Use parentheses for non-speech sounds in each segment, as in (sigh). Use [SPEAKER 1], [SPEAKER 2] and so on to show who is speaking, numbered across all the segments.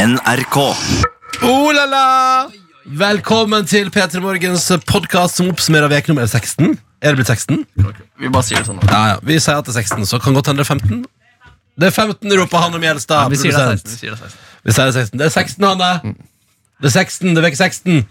[SPEAKER 1] NRK.
[SPEAKER 2] Oh la la! Velkommen til P3 Morgens podkast som oppsummerer uke nummer 16. Er det blitt 16?
[SPEAKER 3] Vi bare sier det sånn.
[SPEAKER 2] Ja, ja. Vi sier at det er 16, så kan godt hende det er 15. Det er 15, roper Hanne Mjelstad.
[SPEAKER 4] vi sier det er
[SPEAKER 2] produsent.
[SPEAKER 3] Vi sier det
[SPEAKER 2] Vi sier
[SPEAKER 3] sånn. 16.
[SPEAKER 2] det er 16. Det er 16, Hanne! Det er 16, det er vekk 16.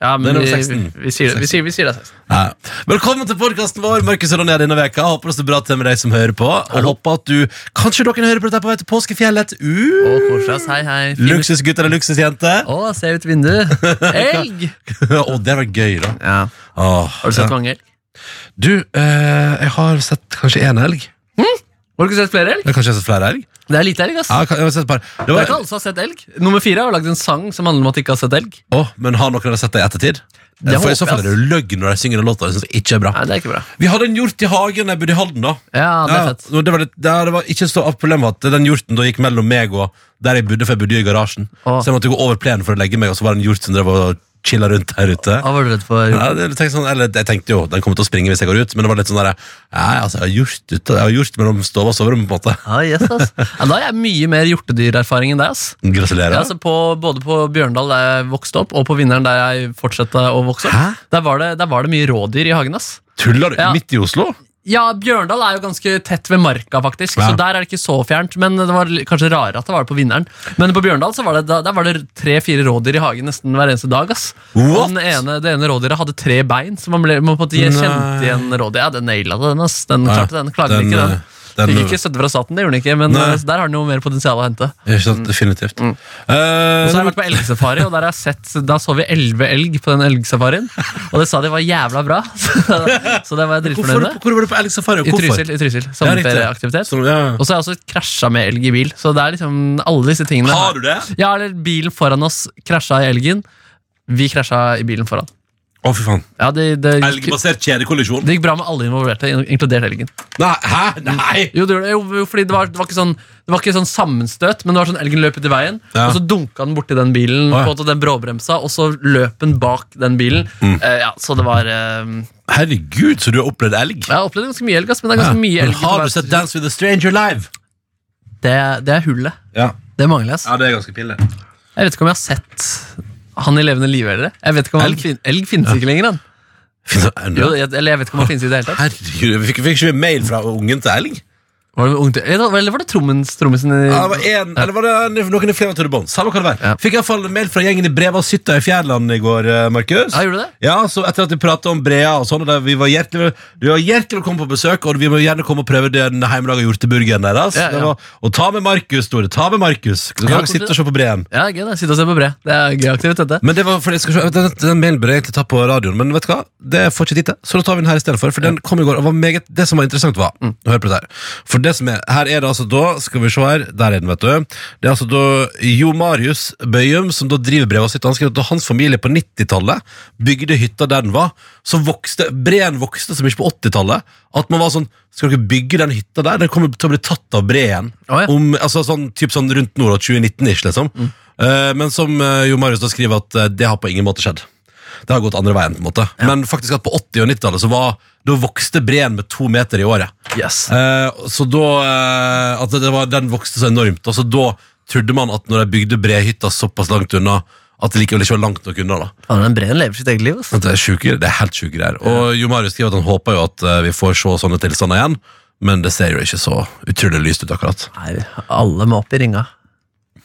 [SPEAKER 3] Ja,
[SPEAKER 2] Det
[SPEAKER 3] men
[SPEAKER 2] er
[SPEAKER 3] vi,
[SPEAKER 2] nummer
[SPEAKER 3] vi,
[SPEAKER 2] 16.
[SPEAKER 3] vi, sier, det- vi, sier, vi sier det er 16.
[SPEAKER 2] Ja. Velkommen til podkasten vår, Markus og Ronja, denne veka. Håper det står bra til med deg som hører på. Og håper at du, Kanskje dere hører på dette på vei til påskefjellet.
[SPEAKER 3] Å,
[SPEAKER 2] Uh,
[SPEAKER 3] koselig. ass. Hei, hei. Fin-
[SPEAKER 2] luksusgutt eller luksusjente.
[SPEAKER 3] Å, se ut (laughs) vinduet. Elg!
[SPEAKER 2] (laughs) Å, det var gøy, da.
[SPEAKER 3] Ja.
[SPEAKER 2] Åh,
[SPEAKER 3] Har du sett
[SPEAKER 2] ja.
[SPEAKER 3] mange elg?
[SPEAKER 2] Du, eh, jeg har sett kanskje én elg.
[SPEAKER 3] Har du ikke sett flere elg?
[SPEAKER 2] Jeg har kanskje sett flere elg?
[SPEAKER 3] Det er lite elg, ass.
[SPEAKER 2] Ja, jeg har sett et par. Det
[SPEAKER 3] Det
[SPEAKER 2] var,
[SPEAKER 3] er ikke alle som har sett elg. Nummer fire har lagd en sang som handler om at de ikke har sett elg.
[SPEAKER 2] Åh, men har noen av dere sett det i ettertid?
[SPEAKER 3] Det
[SPEAKER 2] For I
[SPEAKER 3] håper
[SPEAKER 2] så fall
[SPEAKER 3] jeg,
[SPEAKER 2] er det jo løgn når de synger den låta. Det synes jeg ikke er bra.
[SPEAKER 3] Nei, det er ikke bra.
[SPEAKER 2] Vi hadde en hjort i hagen da jeg bodde i Halden. da
[SPEAKER 3] Ja, det er fett.
[SPEAKER 2] og det, var litt, det, det var ikke så problem at Den hjorten da gikk mellom meg og der jeg bodde, for jeg bodde jo i garasjen.
[SPEAKER 3] Åh.
[SPEAKER 2] Så jeg måtte gå over plenen for å legge meg, og så var det en hjort som drev og chilla rundt her ute.
[SPEAKER 3] Hva var du redd for?
[SPEAKER 2] Ja, det- jeg tenkte sånn, eller, jeg tenkte jo den kommer til å springe hvis jeg går ut, men det var litt sånn der, ja, altså, jeg har hjort ute, jeg har hjort mellom stove og soverom. på en måte
[SPEAKER 3] Ja, yes, ass. (laughs) Ja, da har jeg mye mer hjortedyrerfaring enn deg. ass.
[SPEAKER 2] Gratulerer.
[SPEAKER 3] Ja, altså på, både på Bjørndal, der jeg vokste opp, og på Vinneren, der jeg fortsatte å vokse
[SPEAKER 2] Hæ?
[SPEAKER 3] opp, der var, det, der var det mye rådyr i hagen. ass.
[SPEAKER 2] Tuller du?
[SPEAKER 3] Ja.
[SPEAKER 2] Midt i Oslo?
[SPEAKER 3] Ja, Bjørndal er jo ganske tett ved marka, faktisk,
[SPEAKER 2] Ja.
[SPEAKER 3] så der er det ikke så fjernt. Men det var li- kanskje rarere at det var på Vinneren. Men på Bjørndal så var det, da- der var det tre-fire rådyr i hagen nesten hver eneste dag. ass.
[SPEAKER 2] What?
[SPEAKER 3] Og den ene, det ene rådyret hadde tre bein, så man, ble, man på en måte
[SPEAKER 2] Nei.
[SPEAKER 3] kjente igjen rådyret. Ja, den naila det, den. ass. Den klarte den. Klagde
[SPEAKER 2] Den,
[SPEAKER 3] ikke, den.
[SPEAKER 2] eh, den-
[SPEAKER 3] Fikk ikke støtte fra staten, det gjorde den ikke, men
[SPEAKER 2] Nei.
[SPEAKER 3] eh, der har den jo mer potensial å hente.
[SPEAKER 2] Ja, Ikke sant, definitivt.
[SPEAKER 3] Mm. Og så
[SPEAKER 2] Eh,
[SPEAKER 3] har jeg vært på elgsafari, og der har jeg sett Da så vi elleve elg på den elgsafarien. Og det sa de var jævla bra, (laughs) så det var jeg
[SPEAKER 2] hvorfor,
[SPEAKER 3] dritfornøyd med.
[SPEAKER 2] hvor var du på elgsafari? og
[SPEAKER 3] I
[SPEAKER 2] hvorfor?
[SPEAKER 3] Trysil. i Trysil
[SPEAKER 2] Ja, riktig.
[SPEAKER 3] Sommerferieaktivitet.
[SPEAKER 2] Som- ja.
[SPEAKER 3] Og så har jeg også krasja med elg i bil. Så det er liksom alle disse tingene.
[SPEAKER 2] Har du det?
[SPEAKER 3] Ja, eller bilen foran oss krasja i elgen. Vi krasja i bilen foran.
[SPEAKER 2] Å, fy faen.
[SPEAKER 3] Ja, det, det, gikk,
[SPEAKER 2] Elgbasert kjedekollisjon?
[SPEAKER 3] det gikk bra med alle involverte, in- inkludert elgen.
[SPEAKER 2] Nei, hæ? Nei!
[SPEAKER 3] Jo, det, gjorde det. jo jo, fordi det var, det, var ikke sånn, det var ikke sånn sammenstøt, men det var sånn elgen løp ut i veien,
[SPEAKER 2] Ja.
[SPEAKER 3] og så dunka den borti den
[SPEAKER 2] Å,
[SPEAKER 3] bilen,
[SPEAKER 2] ja.
[SPEAKER 3] på en måte, den bråbremsa, og så løp den bak den bilen.
[SPEAKER 2] Mm.
[SPEAKER 3] Eh, ja, så det var eh,
[SPEAKER 2] Herregud, så du har opplevd elg?
[SPEAKER 3] Jeg har opplevd ganske mye elg, ass, men det er ganske mye
[SPEAKER 2] Men
[SPEAKER 3] elg. på
[SPEAKER 2] har
[SPEAKER 3] hver-
[SPEAKER 2] du sett Dance with a Stranger live?
[SPEAKER 3] det, det er hullet.
[SPEAKER 2] Ja.
[SPEAKER 3] Det mangler, ass.
[SPEAKER 2] det er ganske pille.
[SPEAKER 3] Jeg vet ikke om jeg har sett han i levende live heller. Jeg vet ikke om han
[SPEAKER 2] Elg?
[SPEAKER 3] fin elg finnes ikke lenger. Han. Jo,
[SPEAKER 2] Herregud,
[SPEAKER 3] jeg, eller jeg vet ikke om han finnes i det hele tatt.
[SPEAKER 2] vi fikk, fikk ikke vi mail fra ungen til elg?
[SPEAKER 3] Var det, ungt, eller var det trommens, trommisen i
[SPEAKER 2] Ja, det var en, eller var det noen i flere til det bånd? Samme hva det var.
[SPEAKER 3] Ja.
[SPEAKER 2] Fikk iallfall mail fra gjengen i Breva og Sytta i Fjærland i går, eh, Markus.
[SPEAKER 3] Ja, gjorde du det?
[SPEAKER 2] Ja, så etter at vi pratet om Brea og sånn, og der vi var hjertelig, du var hjertelig velkommen på besøk, og vi må gjerne komme og prøve den hjemmelaga hjorteburgeren deres.
[SPEAKER 3] Ja, ja.
[SPEAKER 2] Det var- Og ta med Markus, Tore. Ta med Markus. Så kan
[SPEAKER 3] Ja,
[SPEAKER 2] dere sitte og se på Breen.
[SPEAKER 3] Ja, gøy det. Sitte og se på bre. Det er gøy aktivitet, det.
[SPEAKER 2] Men det var fordi jeg skal se, den, den mailen burde jeg egentlig ta på radioen, men vet du hva? Det får ikke tid til, så da tar vi den her i stedet for. For den kom i går, og var meget, det som var interessant, var
[SPEAKER 3] Mm.
[SPEAKER 2] Hør på dette her. For det som er Her er det altså da Skal vi se her. Der er den, vet du. Det er altså da Jo Marius Bøyum, som da driver brevet sitt, han skriver at da hans familie på 90-tallet bygde hytta der den var, så vokste breen vokste så mye på 80-tallet at man var sånn Skal dere bygge den hytta der? Den kommer til å bli tatt av breen
[SPEAKER 3] Å, ja.
[SPEAKER 2] om, altså sånn, typ sånn rundt Nordås 2019-ish, liksom. Eh, men som eh, Jo Marius da skriver at eh, det har på ingen måte skjedd. Det har gått andre veien, på en måte. Men faktisk at på 80- og 90-tallet så var, da vokste breen med to meter i året.
[SPEAKER 3] Yes.
[SPEAKER 2] Eh, så da, eh, at det var, den vokste så enormt. Og så da trodde man at når de bygde brehytta såpass langt unna, at det likevel ikke var langt nok unna da.
[SPEAKER 3] Faen, den breen lever sitt eget liv, ass.
[SPEAKER 2] At Det er, sjuke, det er helt sjuke greier. Og Jo Marius skriver at han håper jo at eh, vi får se sånne tilstander igjen, men det ser jo ikke så utrolig lyst ut akkurat.
[SPEAKER 3] Nei, alle må opp i ringa.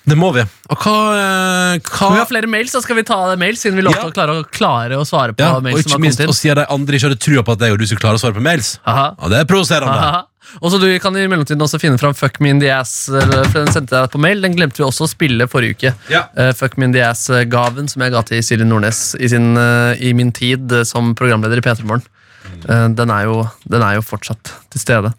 [SPEAKER 2] Det må vi. Og hva, eh, hva
[SPEAKER 3] Vi har flere mails, da skal vi ta mails, siden vi lovte
[SPEAKER 2] Ja.
[SPEAKER 3] å klare å klare å svare på
[SPEAKER 2] ja, Og
[SPEAKER 3] mails som
[SPEAKER 2] ikke
[SPEAKER 3] har
[SPEAKER 2] minst
[SPEAKER 3] kommet
[SPEAKER 2] å
[SPEAKER 3] inn.
[SPEAKER 2] si at de andre ikke hadde trua på at jeg og du skulle klare å svare på mails.
[SPEAKER 3] Aha.
[SPEAKER 2] Ja, Det er provoserende.
[SPEAKER 3] Aha. (laughs) Og så Du kan i mellomtiden også finne fram Fuck me in the ass. eh, For Den sendte jeg deg på mail Den glemte vi også å spille forrige uke.
[SPEAKER 2] Ja.
[SPEAKER 3] Eh, Fuck me in the ass-gaven som jeg ga til Silje Nordnes i, sin, eh, i min tid eh, som programleder i P3 Morgen. Eh, Den er, jo, den er jo fortsatt til stede.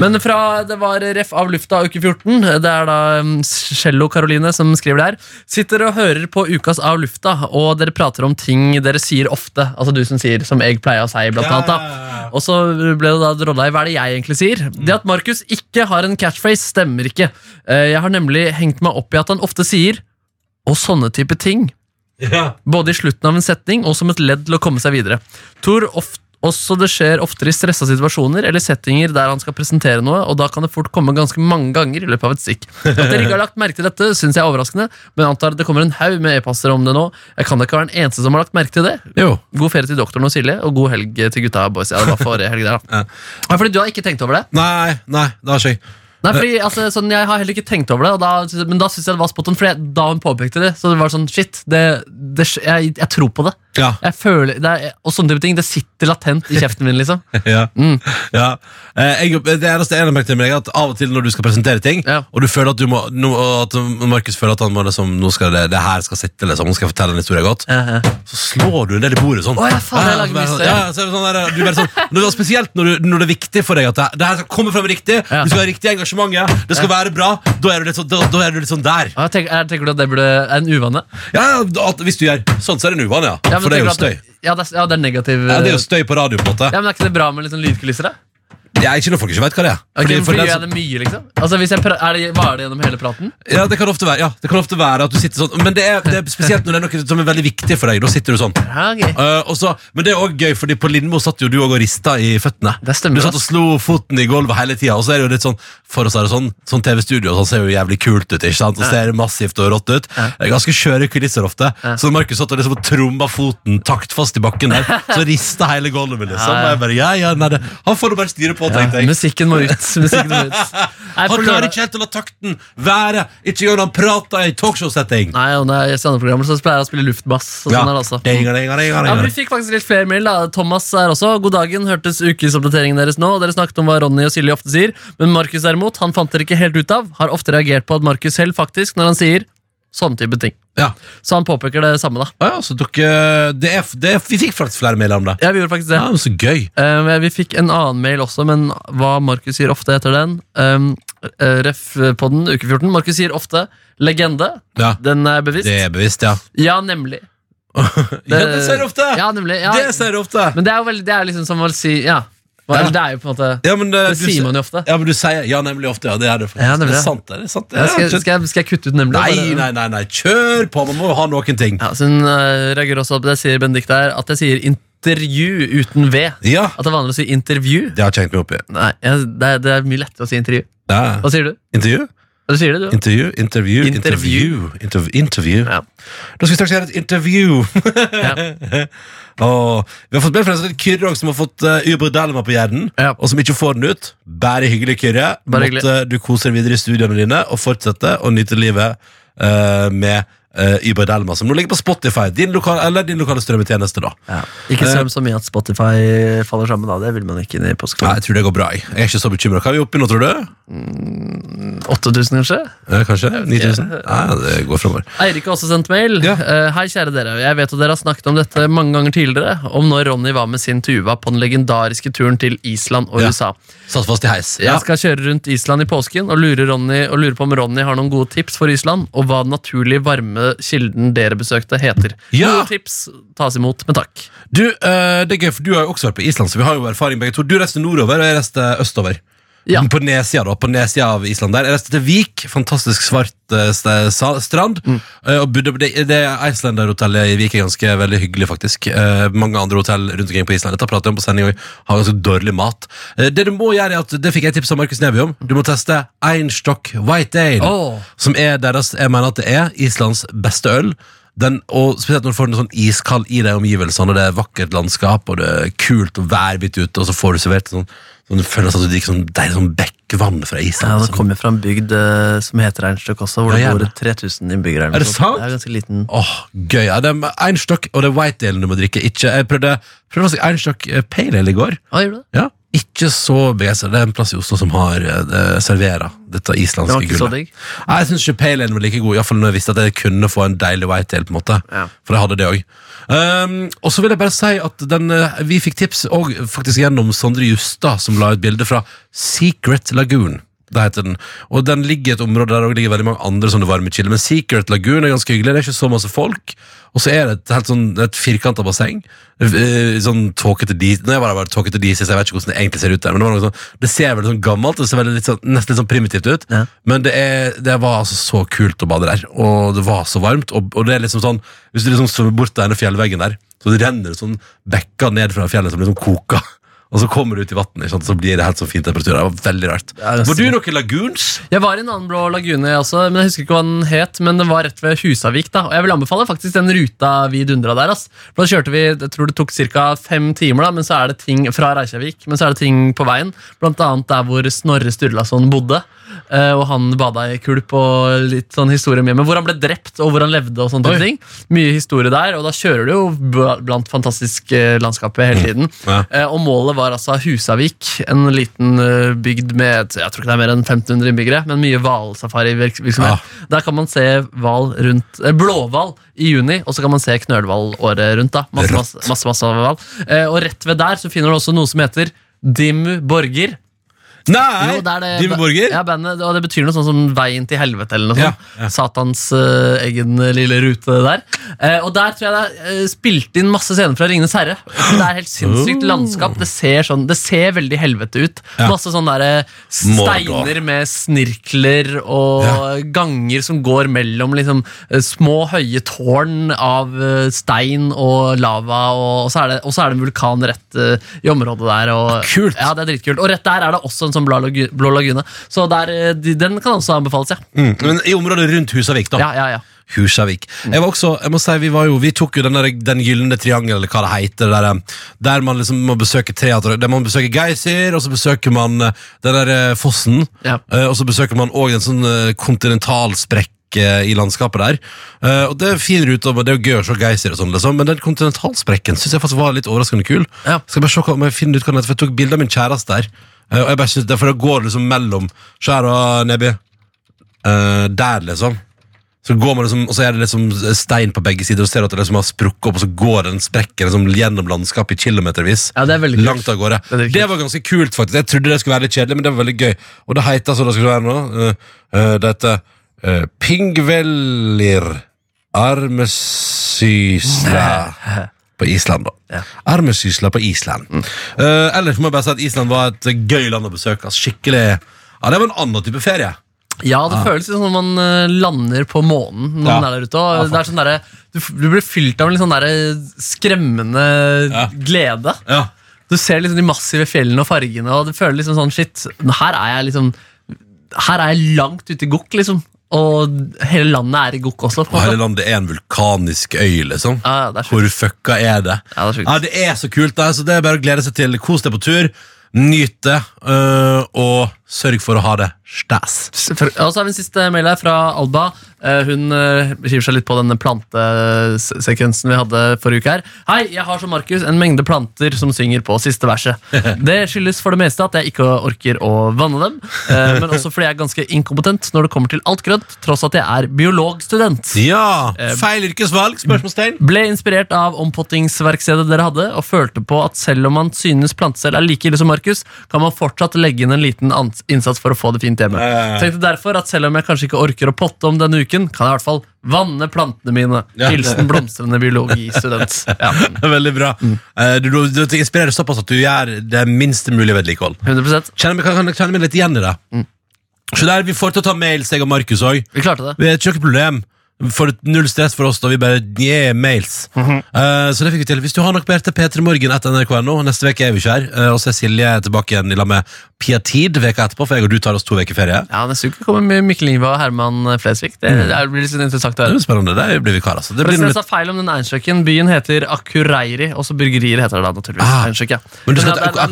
[SPEAKER 3] Men fra det var ref av lufta uke 14, eh, det er da mm, Cello Caroline som skriver der. Sitter og hører på ukas av lufta, og dere prater om ting dere sier ofte. Altså du som sier som jeg pleier å si, blant annet. da. Og så ble det da drodda i hva er det jeg egentlig sier. Det at Markus ikke har en catchphrase, stemmer ikke. Eh, Jeg har nemlig hengt meg opp i at han ofte sier 'og sånne type ting',
[SPEAKER 2] Ja.
[SPEAKER 3] både i slutten av en setning og som et ledd til å komme seg videre. Tror of- Også det skjer oftere i stressa situasjoner eller settinger der han skal presentere noe, og da kan det fort komme ganske mange ganger i løpet av et stikk. At dere ikke har lagt merke til dette, syns jeg er overraskende, men jeg antar at det kommer en haug med e-poster om det nå. Jeg kan da ikke være den eneste som har lagt merke til det.
[SPEAKER 2] Jo.
[SPEAKER 3] God ferie til doktoren og Silje, og god helg til gutta og boys. Ja, det var forrige helg der, da. Ja, fordi du har ikke tenkt over det?
[SPEAKER 2] Nei, nei, det har ikke jeg.
[SPEAKER 3] Nei, fordi altså, sånn, Jeg har heller ikke tenkt over det, og da, men da syns jeg det var spot on. For jeg, da hun påpekte det, så det var sånn shit. Det, det, sk- jeg, jeg tror på det.
[SPEAKER 2] Ja.
[SPEAKER 3] Jeg føler, det er, og sånne type ting. Det sitter latent i kjeften min,
[SPEAKER 2] (laughs)
[SPEAKER 3] liksom.
[SPEAKER 2] Ja.
[SPEAKER 3] Mm.
[SPEAKER 2] ja. Eh, Jeg, det eneste jeg har merket med deg, er at av og til når du skal presentere ting,
[SPEAKER 3] Ja.
[SPEAKER 2] og du føler at du må nå- og at Markus føler at han må liksom, nå skal det, det her skal sitte, liksom, nå skal jeg fortelle en historie godt,
[SPEAKER 3] Eh, eh.
[SPEAKER 2] så slår du en del i bordet sånn.
[SPEAKER 3] Å, ja, faen, jeg
[SPEAKER 2] Ja,
[SPEAKER 3] lager
[SPEAKER 2] så bare
[SPEAKER 3] mye
[SPEAKER 2] sånn-
[SPEAKER 3] støy.
[SPEAKER 2] ja, ja, så er det sånn der, du er bare sånn, når det er Spesielt når, du, når det er viktig for deg at det, det her skal komme fram riktig,
[SPEAKER 3] Ja.
[SPEAKER 2] du skal ha riktig engasjement, ja, det skal være bra, da er du litt sånn, da, da er du litt sånn der.
[SPEAKER 3] Og jeg tenker, jeg tenker du at det burde, er en uvane?
[SPEAKER 2] Ja, ja, at, hvis du gjør sånn, så er det en uvane, ja.
[SPEAKER 3] Ja, men
[SPEAKER 2] for det er jo
[SPEAKER 3] tenker du
[SPEAKER 2] støy.
[SPEAKER 3] at- Ja, det er, ja, det er negativ.
[SPEAKER 2] Ja, det er jo støy på radio, på en måte.
[SPEAKER 3] ja, men Er ikke det bra med litt sånn lydkulisser? da?
[SPEAKER 2] Det er ikke noe folk ikke vet hva det er.
[SPEAKER 3] Ok,
[SPEAKER 2] Fordi-
[SPEAKER 3] men
[SPEAKER 2] for
[SPEAKER 3] fordi
[SPEAKER 2] den
[SPEAKER 3] gjør
[SPEAKER 2] som-
[SPEAKER 3] jeg det mye, liksom? Altså, hvis jeg prø- er det, Varer det gjennom hele praten?
[SPEAKER 2] Ja, det kan ofte være, ja, det kan ofte være at du sitter sånn Men det er, det er spesielt når det er noe som er veldig viktig for deg Da sitter du sånn
[SPEAKER 3] Ja, ok.
[SPEAKER 2] Eh, og så, Men det er også gøy, fordi på Lindmo satt jo du også og rista i føttene
[SPEAKER 3] Det stemmer,
[SPEAKER 2] Du satt og
[SPEAKER 3] ass.
[SPEAKER 2] slo foten i gulvet hele tiden Og så er det jo litt sånn, for oss er det sånn Sånn TV-studio, og sånn ser jo jævlig kult ut, ikke sant? Og ser massivt og rått ut Det er ganske skjøre kulisser ofte Så Markus satt og liksom tromba foten taktfast i bakken
[SPEAKER 3] (laughs)
[SPEAKER 2] der Så rista hele gulvet liksom
[SPEAKER 3] Ja, ja.
[SPEAKER 2] Og jeg bare, ja, ja, nei, det, han får nå bare styre på,
[SPEAKER 3] Ja,
[SPEAKER 2] tenkte jeg
[SPEAKER 3] musikken må ut. Musikken må ut. Nei,
[SPEAKER 2] han
[SPEAKER 3] på
[SPEAKER 2] klarer
[SPEAKER 3] lørdag-
[SPEAKER 2] ikke helt å la takten være. Ikke gjør han prater i talkshow-setting.
[SPEAKER 3] Nei, og når jeg er i standup-programmer så pleier jeg å spille luftbass. Og sånn er det altså.
[SPEAKER 2] Dinga, dinga, dinga,
[SPEAKER 3] Ja, men Vi
[SPEAKER 2] dinga.
[SPEAKER 3] fikk faktisk litt flere mail. da Thomas er også. God dagen. Hørtes ukesoppdateringen deres nå. og Dere snakket om hva Ronny og Silje ofte sier. Men Markus derimot, han fant dere ikke helt ut av. Har ofte reagert på at Markus selv faktisk, når han sier sånne type ting.
[SPEAKER 2] Ja.
[SPEAKER 3] Så han påpeker det samme, da.
[SPEAKER 2] Å ja, så dere det er, det er, Vi fikk faktisk flere mailer om det.
[SPEAKER 3] Ja, vi gjorde faktisk det.
[SPEAKER 2] Ja, men Så gøy.
[SPEAKER 3] Eh, vi fikk en annen mail også, men hva Markus sier ofte etter den. Um, ref på den, uke 14. Markus sier ofte 'legende'.
[SPEAKER 2] Ja,
[SPEAKER 3] Den er bevisst.
[SPEAKER 2] Det er bevisst, ja.
[SPEAKER 3] Ja, nemlig.
[SPEAKER 2] Ja, det ser du ofte!
[SPEAKER 3] Ja, nemlig. Ja.
[SPEAKER 2] Det ser du ofte!
[SPEAKER 3] Men det er jo veldig, det er liksom som å si Ja. Hva-
[SPEAKER 2] Ja.
[SPEAKER 3] eller Det er jo på en måte
[SPEAKER 2] Ja, men, eh,
[SPEAKER 3] Det sier man jo ofte.
[SPEAKER 2] Ja, men du sier ja nemlig ofte. Ja, det er det faktisk.
[SPEAKER 3] Ja, nemlig,
[SPEAKER 2] det er
[SPEAKER 3] ja.
[SPEAKER 2] sant, det. det, er sant, det.
[SPEAKER 3] ja, skal,
[SPEAKER 2] Ja,
[SPEAKER 3] jeg- skal, jeg, skal jeg kutte ut nemlig?
[SPEAKER 2] Nei,
[SPEAKER 3] Bare-
[SPEAKER 2] nei, nei, nei, kjør på! Man må jo ha noen ting.
[SPEAKER 3] Ja, så hun eh, reagerer også på det jeg sier Benedikte her, at jeg sier intervju uten V. At
[SPEAKER 2] Ja,
[SPEAKER 3] det er vanlig å si intervju.
[SPEAKER 2] det har jeg hengt meg opp i.
[SPEAKER 3] Nei, jeg, det, er, det er mye lettere å si intervju.
[SPEAKER 2] Ja.
[SPEAKER 3] Hva sier du?
[SPEAKER 2] Intervju?
[SPEAKER 3] Hva sier du, du?
[SPEAKER 2] Intervju, intervju, intervju.
[SPEAKER 3] Intervju.
[SPEAKER 2] Interv- Intervju.
[SPEAKER 3] Ja.
[SPEAKER 2] Da skal vi straks gjøre et intervju. (laughs) Åh, vi har fått med flere sånn Kyrre også, som har fått uh, Uberdelma på hjernen,
[SPEAKER 3] Ja.
[SPEAKER 2] og som ikke får den ut. Bare hyggelig, Kyrre.
[SPEAKER 3] Bare hyggelig.
[SPEAKER 2] Måtte du kose deg videre i studiene dine og fortsette å nyte livet eh, med uh, Uberdelma, som nå ligger på Spotify, din lokale, eller din lokale strømmetjeneste. da.
[SPEAKER 3] Ikke
[SPEAKER 2] Eh.
[SPEAKER 3] strøm så mye at Spotify faller sammen, da. Det vil man ikke inn i
[SPEAKER 2] Nei,
[SPEAKER 3] påskeferien.
[SPEAKER 2] jeg tror det går bra. Jeg Jeg er ikke så bekymra. Hva er vi oppe i nå, tror du?
[SPEAKER 3] 8000, kanskje?
[SPEAKER 2] Eh, kanskje 9000? Nei, det går framover.
[SPEAKER 3] Eirik har også sendt mail.
[SPEAKER 2] Ja.
[SPEAKER 3] Eh, hei, kjære dere. Jeg vet at dere har snakket om dette mange ganger tidligere, om når Ronny var med sin Tuva på den legendariske turen til Island og
[SPEAKER 2] Ja.
[SPEAKER 3] USA.
[SPEAKER 2] Satt fast i heis.
[SPEAKER 3] Jeg skal kjøre rundt Island i påsken og lurer, Ronny, og lurer på om Ronny har noen gode tips for Island, og hva den naturlige varme kilden dere besøkte, heter.
[SPEAKER 2] Ja.
[SPEAKER 3] Gode tips tas imot med takk.
[SPEAKER 2] Du, eh, det er gøy, for du har jo også vært på Island, så vi har jo erfaring begge to. Du reiste nordover, og jeg reiste østover.
[SPEAKER 3] Ja.
[SPEAKER 2] På nedsida da, på nedsida av Island der. Jeg reiste til Vik, fantastisk svart eh, st- sa- strand. eh, Og bodde på det, det Icelanderhotellet i Vik er ganske veldig hyggelig, faktisk. Eh, mange andre hotell rundt omkring på Island. Dette prater jeg om på sending, og jeg har ganske dårlig mat. Eh, det du må gjøre, er at, det fikk jeg tips av Markus Neby om, du må teste Einstock White Ale
[SPEAKER 3] Åh.
[SPEAKER 2] som er deres, jeg mener at det er Islands beste øl. Den, og spesielt når du får en sånn iskald i deg i omgivelsene, og det er vakkert landskap, og det er kult og værbitt ute, og så får du servert sånn, sånn det føles at du drikker sånn deilig sånn bekkvann fra Island. sånn.
[SPEAKER 3] kommer fra en bygd eh, som heter Reinstøk også,
[SPEAKER 2] det Ja, gjerne. bor
[SPEAKER 3] 3000 innbyggere.
[SPEAKER 2] Er det sånt. sant? Det er
[SPEAKER 3] ganske liten.
[SPEAKER 2] Åh, gøy. Ja, det er en stokk, og det er white-delen du må drikke. Ikke, jeg prøvde, prøvde faktisk en stokk eh, pale ale i går.
[SPEAKER 3] Hva gjorde du?
[SPEAKER 2] Ja, ikke så begeistret. Det er en plass i Oslo som har eh, serverer dette
[SPEAKER 3] Det
[SPEAKER 2] islandske
[SPEAKER 3] var ikke så
[SPEAKER 2] gullet.
[SPEAKER 3] digg.
[SPEAKER 2] Nei, Jeg syns ikke pale ale var like god, iallfall når jeg visste at jeg kunne få en deilig white ale. på en måte
[SPEAKER 3] Ja.
[SPEAKER 2] For jeg hadde det òg. og så vil jeg bare si at den, eh, vi fikk tips og faktisk gjennom Sondre Justad, som la ut bilde fra Secret Lagoon. Det heter den. Og den ligger i et område der det ligger veldig mange andre sånne varmekilder. Men Secret Lagoon er ganske hyggelig. Det er ikke så masse folk. Og så er det et helt sånn et firkanta basseng. Eh, Sånn tåkete dis Nå var det bare tåkete dis, så jeg vet ikke hvordan det egentlig ser ut der. Men det, var noe sånn, det ser veldig sånn gammelt det ser veldig litt sånn, nesten litt sånn primitivt ut.
[SPEAKER 3] Ja.
[SPEAKER 2] Men det, er, det var altså så kult å bade der. Og det var så varmt. Og, og det er liksom sånn Hvis du liksom svømmer bort til denne fjellveggen der Så det renner sånn bekker ned fra fjellet som liksom koker. Og så kommer du ut i vannet, ikke sant? så blir det helt sånn fin temperatur. Det var veldig rart.
[SPEAKER 3] Ja, det er
[SPEAKER 2] Var du noe i lagunes?
[SPEAKER 3] Jeg var i en annen blå lagune, jeg også, men jeg husker ikke hva den het. Men den var rett ved Husavik, da. Og jeg vil anbefale faktisk den ruta vi dundra der. Ass. For da kjørte vi, jeg tror det tok ca. fem timer, da, men så er det ting fra Reykjavik. Men så er det ting på veien, blant annet der hvor Snorre Sturlason bodde. eh, Og han bada i kulp og litt sånn historie om hjemmet. Hvor han ble drept, og hvor han levde. og sånne type ting. Mye historie der, og da kjører du jo b- blant fantastisk eh, landskapet hele tiden.
[SPEAKER 2] Ja.
[SPEAKER 3] Eh, Og målet var altså Husavik, en liten eh, bygd med jeg tror ikke det er mer enn 1500 innbyggere, men mye hvalsafarivirksomhet.
[SPEAKER 2] Ja.
[SPEAKER 3] Der kan man se val rundt, eh, blåhval i juni, og så kan man se knølhval året rundt. da. Masse, masse, masse, masse hval. Eh, Og rett ved der så finner du også noe som heter Dimmu Borger.
[SPEAKER 2] Nei!
[SPEAKER 3] Jo, det er det,
[SPEAKER 2] Dimmu Borger?
[SPEAKER 3] Ja, bandet, og det betyr noe sånn som Veien til helvete eller noe
[SPEAKER 2] Ja,
[SPEAKER 3] sånt. Satans eh, egen lille rute der. Eh, og der tror jeg det er eh, spilt inn masse scener fra Ringenes herre. Det er helt sinnssykt landskap. Det ser, sånn, det ser veldig helvete ut.
[SPEAKER 2] Oh. Ja.
[SPEAKER 3] Masse sånne der, eh,
[SPEAKER 2] Mordor.
[SPEAKER 3] steiner med snirkler og ganger som går mellom liksom, eh, små, høye tårn av eh, stein og lava, og, og, så er det, og så er det en vulkan rett eh, i området der. Og,
[SPEAKER 2] Ah, Kult.
[SPEAKER 3] Ja, det er dritkult. Og rett der er det også en sånn blå, lagu- blå lagune, så der, eh, de, den kan også anbefales, ja.
[SPEAKER 2] Mm. Men I området rundt Husavik, da.
[SPEAKER 3] Ja, ja, ja.
[SPEAKER 2] Husavik.
[SPEAKER 3] Mm.
[SPEAKER 2] Jeg var også, jeg må si, vi, var jo, vi tok jo den, der, den gyllene triangel, eller hva det heter, det der, der man liksom må besøke teater, der man besøker Geysir, og så besøker man eh, den der eh, fossen,
[SPEAKER 3] Ja.
[SPEAKER 2] eh, og så besøker man også en sånn eh, kontinental sprekk eh, i landskapet der Eh, og det finner ut av, det er jo gøy å se geiser og sånn liksom, men den kontinentalsprekken synes jeg faktisk var litt overraskende kul
[SPEAKER 3] Ja.
[SPEAKER 2] skal bare se hva- om jeg finner ut hva den heter, for jeg tok bilder av min kjæreste der Eh, og jeg bare synes det, for det går liksom mellom skjær og nebbi Eh, der, liksom. Så går man liksom, og så er det liksom stein på begge sider, og ser at det liksom har sprukket opp, og så går den sprekken liksom gjennom landskapet i kilometervis.
[SPEAKER 3] Ja, det er veldig kult.
[SPEAKER 2] Langt av gårde.
[SPEAKER 3] Det er veldig
[SPEAKER 2] Det var ganske kult, faktisk. Jeg trodde det skulle være litt kjedelig, men det var veldig gøy. Og det heter altså, det skal være nå, eh, eh, det heter eh, Pingvellir Armesysla på Island, da.
[SPEAKER 3] Ja. Mm.
[SPEAKER 2] Armesysla på Island. Eh, ellers må jeg bare si at Island var et gøy land å besøke. ass. Skikkelig Ja, det var en annen type ferie.
[SPEAKER 3] Ja, det føles litt som om man eh, lander på månen når
[SPEAKER 2] Ah. Ja.
[SPEAKER 3] man er der ute. Og det er sånn derre, du, f- du blir fylt av en litt sånn derre skremmende
[SPEAKER 2] Ja.
[SPEAKER 3] glede.
[SPEAKER 2] Ja.
[SPEAKER 3] Du ser liksom de massive fjellene og fargene, og det føles liksom sånn shit. Her er jeg liksom Her er jeg langt ute i gokk, liksom. Og hele landet er i gokk også. på en
[SPEAKER 2] Og
[SPEAKER 3] måte.
[SPEAKER 2] hele landet er en vulkanisk øy, liksom.
[SPEAKER 3] Ja, ja, det er sjukt.
[SPEAKER 2] Hvor fucka er det?
[SPEAKER 3] Ja, det er sjukt.
[SPEAKER 2] Ja, det er så kult, da, så det er bare å glede seg til. Kos deg på tur, nyt det, øh, og sørg for å ha det stas.
[SPEAKER 3] For- Og så har vi en siste mail her fra Alba. Eh, Hun eh, hiver seg litt på denne plantesekvensen vi hadde forrige uke. her. Hei, jeg har som Markus en mengde planter som synger på siste verset. Det skyldes for det meste at jeg ikke orker å vanne dem, eh, men også fordi jeg er ganske inkompetent når det kommer til alt grønt, tross at jeg er biologstudent.
[SPEAKER 2] Ja! Eh, Feil yrkesvalg? Spørsmålstegn? (laughs)
[SPEAKER 3] Ble inspirert av ompottingsverkstedet dere hadde, og følte på at selv om man synes plantestell er like ille som Markus, kan man fortsatt legge inn en liten ans- innsats for å få det fint hjemme.
[SPEAKER 2] Ja, ja, ja.
[SPEAKER 3] Tenkte derfor at selv om jeg kanskje ikke orker å potte om denne uken, kan jeg i hvert fall vanne plantene mine.
[SPEAKER 2] Ja.
[SPEAKER 3] Hilsen blomstrende
[SPEAKER 2] (laughs)
[SPEAKER 3] biologistudent. Ja,
[SPEAKER 2] Veldig bra. Eh, Du, du, du inspirerer såpass at du gjør det minste mulige vedlikehold.
[SPEAKER 3] 100
[SPEAKER 2] Kjenner meg, kan, kan kjenne meg litt igjen i det. Så der, Vi får til å ta mails, jeg og Markus òg.
[SPEAKER 3] Vi klarte det.
[SPEAKER 2] Det er ikke noe problem. For null stress for oss, da vi bare gir mails. Eh, så det fikk vi til. Hvis du har noe mer til P3morgen etter nrk.no, neste uke er vi ikke her. eh, og så er Silje tilbake igjen i lag med Pia Tid veka etterpå, for jeg og du tar oss to uker ferie.
[SPEAKER 3] Ja, Neste uke kommer Mikkel Ingva og Herman Flesvig. Det, det blir litt
[SPEAKER 2] Mm.
[SPEAKER 3] interessant å
[SPEAKER 2] Det
[SPEAKER 3] høre.
[SPEAKER 2] blir spennende. Det blir vikar, altså. Det blir
[SPEAKER 3] Forresten,
[SPEAKER 2] noe
[SPEAKER 3] jeg
[SPEAKER 2] litt...
[SPEAKER 3] sa feil om den Einsjøkken. Byen heter Akureyri, også burgerier heter det da, naturligvis.
[SPEAKER 2] Ah,
[SPEAKER 3] Einsjøk, ja.
[SPEAKER 2] Men du skal
[SPEAKER 3] ja,
[SPEAKER 2] til
[SPEAKER 3] det er- Mm,
[SPEAKER 2] Ak-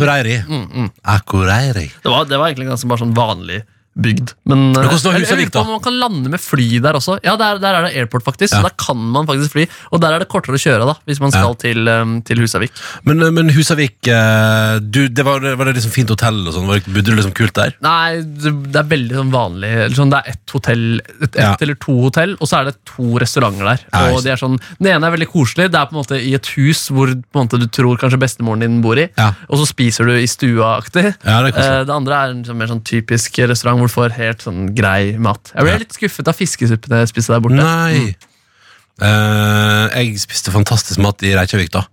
[SPEAKER 2] Akureyri. Akureyri.
[SPEAKER 3] Det var, det var egentlig ganske bare sånn vanlig bygd. Men
[SPEAKER 2] hvordan
[SPEAKER 3] eh,
[SPEAKER 2] var
[SPEAKER 3] jeg- jeg
[SPEAKER 2] Husavik,
[SPEAKER 3] lurer på om
[SPEAKER 2] da?
[SPEAKER 3] man kan lande med fly der også. Ja, der, der er det airport, faktisk.
[SPEAKER 2] Ja.
[SPEAKER 3] Så der kan man faktisk fly. Og der er det kortere å kjøre da, hvis man skal til, eh, til Husavik.
[SPEAKER 2] Men, eh, men Husavik, eh, du, det var, var det liksom fint hotell og sånn? Var det- Bodde du liksom kult der?
[SPEAKER 3] Nei, det det er veldig sånn vanlig eller sånn, Det er ett hotell, et, ett
[SPEAKER 2] Ja.
[SPEAKER 3] eller to hotell, og så er det to restauranter der.
[SPEAKER 2] Ja,
[SPEAKER 3] og de er sånn, Den ene er veldig koselig. Det er på en måte i et hus hvor på en måte, du tror kanskje bestemoren din bor i.
[SPEAKER 2] Ja.
[SPEAKER 3] Og så spiser du i stua-aktig.
[SPEAKER 2] Ja, det er koselig.
[SPEAKER 3] Eh, det andre er en sånn, mer sånn typisk restaurant hvor du får helt sånn grei mat. Jeg ble
[SPEAKER 2] Ja.
[SPEAKER 3] litt skuffet av fiskesuppen jeg spiste der borte.
[SPEAKER 2] Nei. Eh, jeg spiste fantastisk mat i Reykjavik, da.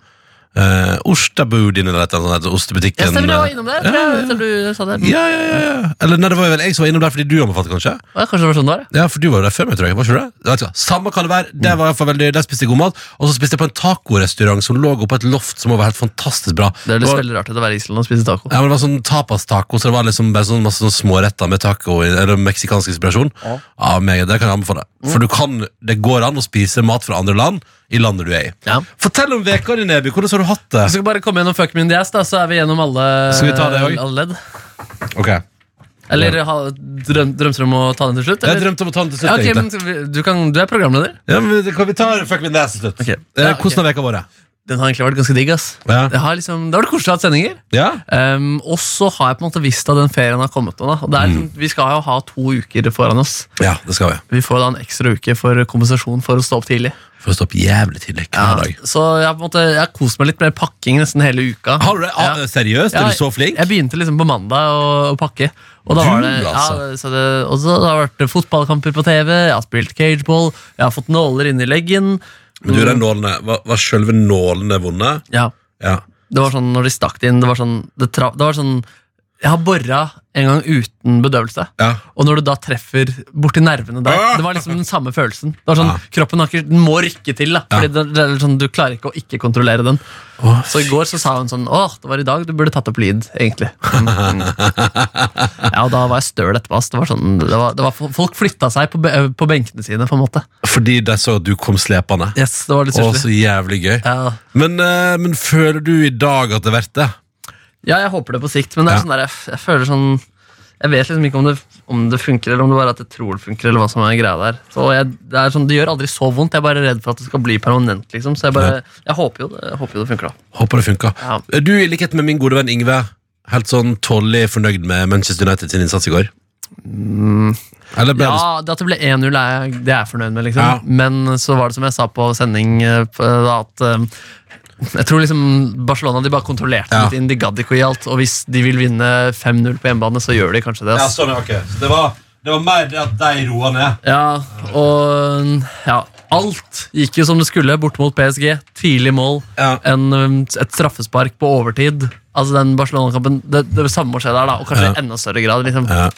[SPEAKER 2] eh, Ostabudin eller et eller annet sånt, ostebutikken.
[SPEAKER 3] Jeg stemmer, du var innom der.
[SPEAKER 2] Ja,
[SPEAKER 3] tror
[SPEAKER 2] ja,
[SPEAKER 3] Jeg, tror du sa det.
[SPEAKER 2] Ja, ja, ja, ja. Eller nei, det var jo vel jeg som var innom der fordi du anbefalte, kanskje?
[SPEAKER 3] Å, ja, Kanskje det var sånn det var? ja.
[SPEAKER 2] Ja, for du var jo der før meg, tror jeg. Var ikke du det? Jeg vet ikke hva. Samme kan det være. Det var i hvert fall veldig, Der spiste jeg god mat. Og så spiste jeg på en tacorestaurant som lå oppå et loft som var helt fantastisk bra.
[SPEAKER 3] Det høres
[SPEAKER 2] Og-
[SPEAKER 3] veldig rart ut å være i Island og spise taco.
[SPEAKER 2] ja, men Det var sånn tapas-taco, så det var liksom bare sånn masse sånn småretter med taco i- eller meksikansk inspirasjon. Ja,
[SPEAKER 3] Ja. Mm.
[SPEAKER 2] meget. Det kan jeg anbefale. For du kan, det går an å spise mat fra andre land i landet du er i.
[SPEAKER 3] Ja. Altså,
[SPEAKER 2] Fortell om veka di, Neby. Hvordan har du hatt
[SPEAKER 3] Jeg
[SPEAKER 2] det?
[SPEAKER 3] skal bare komme gjennom fuck me in the ass, da, så er vi gjennom alle,
[SPEAKER 2] Skal vi ta det også?
[SPEAKER 3] alle ledd.
[SPEAKER 2] Ok,
[SPEAKER 3] Eller ha, drøm, drømte du om å ta den til slutt?
[SPEAKER 2] Jeg
[SPEAKER 3] Eller?
[SPEAKER 2] drømte om å ta den til
[SPEAKER 3] Ja,
[SPEAKER 2] slutt.
[SPEAKER 3] ok,
[SPEAKER 2] egentlig.
[SPEAKER 3] men vi- du, kan, du er programleder.
[SPEAKER 2] Ja, men det kan vi ta fuck min ass til slutt.
[SPEAKER 3] Ok.
[SPEAKER 2] Eh,
[SPEAKER 3] Ja, ok.
[SPEAKER 2] Hvordan har veka vært?
[SPEAKER 3] Den har egentlig vært ganske digg. ass
[SPEAKER 2] Ja.
[SPEAKER 3] Det har liksom, det har vært koselig å ha hatt sendinger.
[SPEAKER 2] Ja?
[SPEAKER 3] Um, og så har jeg på en måte visst at den ferien har kommet nå. Da. Og det
[SPEAKER 2] Mm.
[SPEAKER 3] er, liksom- Vi skal jo ha to uker foran oss.
[SPEAKER 2] ja, det skal vi.
[SPEAKER 3] Vi får da en ekstra uke for kompensasjon for å stå opp tidlig.
[SPEAKER 2] For å stå opp jævlig tidlig hver dag.
[SPEAKER 3] Så jeg har på en måte, jeg har kost meg litt med pakking nesten hele uka.
[SPEAKER 2] Har du det? Ah,
[SPEAKER 3] Ja.
[SPEAKER 2] Seriøst?
[SPEAKER 3] Ja,
[SPEAKER 2] Er du så flink?
[SPEAKER 3] Jeg begynte liksom på mandag å, å pakke. Og da
[SPEAKER 2] Du,
[SPEAKER 3] var det,
[SPEAKER 2] altså.
[SPEAKER 3] ja, så det, og så har det vært fotballkamper på TV, jeg har spilt cageball, jeg har fått nåler inn i leggen.
[SPEAKER 2] Men du, den nålene, var, var selve nålene vonde?
[SPEAKER 3] Ja,
[SPEAKER 2] Ja.
[SPEAKER 3] det var sånn når de stakk det inn, det var sånn, det tra, det var sånn Jeg har bora en gang uten bedøvelse.
[SPEAKER 2] ja.
[SPEAKER 3] Og når du da treffer borti nervene der
[SPEAKER 2] Ah!
[SPEAKER 3] Det var liksom den samme følelsen. Det var sånn,
[SPEAKER 2] Ja.
[SPEAKER 3] Kroppen har ikke, den må rykke til. da Fordi det, det er sånn, Du klarer ikke å ikke kontrollere den.
[SPEAKER 2] Å,
[SPEAKER 3] Så i går så sa hun sånn Åh, det var i dag du burde tatt opp lyd, egentlig. Mm, mm. ja, og da var jeg støl etterpå. ass. Det var sånn, det var, det var, folk flytta seg på, be- ø, på benkene sine, på en måte.
[SPEAKER 2] Fordi de så at du kom slepende?
[SPEAKER 3] Yes, det var litt
[SPEAKER 2] Å,
[SPEAKER 3] stusslig.
[SPEAKER 2] så jævlig gøy.
[SPEAKER 3] Ja.
[SPEAKER 2] Men, eh, men føler du i dag at det er verdt det?
[SPEAKER 3] ja, jeg håper det på sikt, men det er
[SPEAKER 2] Ja.
[SPEAKER 3] sånn der, jeg, f- jeg føler sånn Jeg vet liksom ikke om det, om det funker, eller om det bare er at jeg tror det funker, eller hva som er greia der. Så jeg, det, er sånn, det gjør aldri så vondt, jeg er bare redd for at det skal bli permanent, liksom. Så jeg bare, jeg håper jo det, jeg håper jo det funker, da.
[SPEAKER 2] Håper det funka.
[SPEAKER 3] Ja.
[SPEAKER 2] Er Du, i likhet med min gode venn Ingve, helt sånn tålelig fornøyd med Manchester United sin innsats i går? Mm. Eller ble
[SPEAKER 3] Ja,
[SPEAKER 2] det
[SPEAKER 3] det at det ble 1-0 er, jeg- det er jeg fornøyd med, liksom.
[SPEAKER 2] Ja.
[SPEAKER 3] Men så var det som jeg sa på sending, eh, på- da, at eh, jeg tror liksom Barcelona de bare kontrollerte
[SPEAKER 2] Ja.
[SPEAKER 3] litt inn. De gadd ikke å gi alt. Og hvis de vil vinne 5-0 på hjemmebane, så gjør de kanskje det. ass.
[SPEAKER 2] sånn, ok. det, var, mer det at de roa ned.
[SPEAKER 3] Ja, og ja, alt gikk jo som det skulle bort mot PSG. Tidlig mål,
[SPEAKER 2] Ja.
[SPEAKER 3] en, um, et straffespark på overtid. Altså den Barcelona-kampen, det, det samme må skje der, da, og kanskje i enda større grad. liksom. Ja.
[SPEAKER 2] Ja.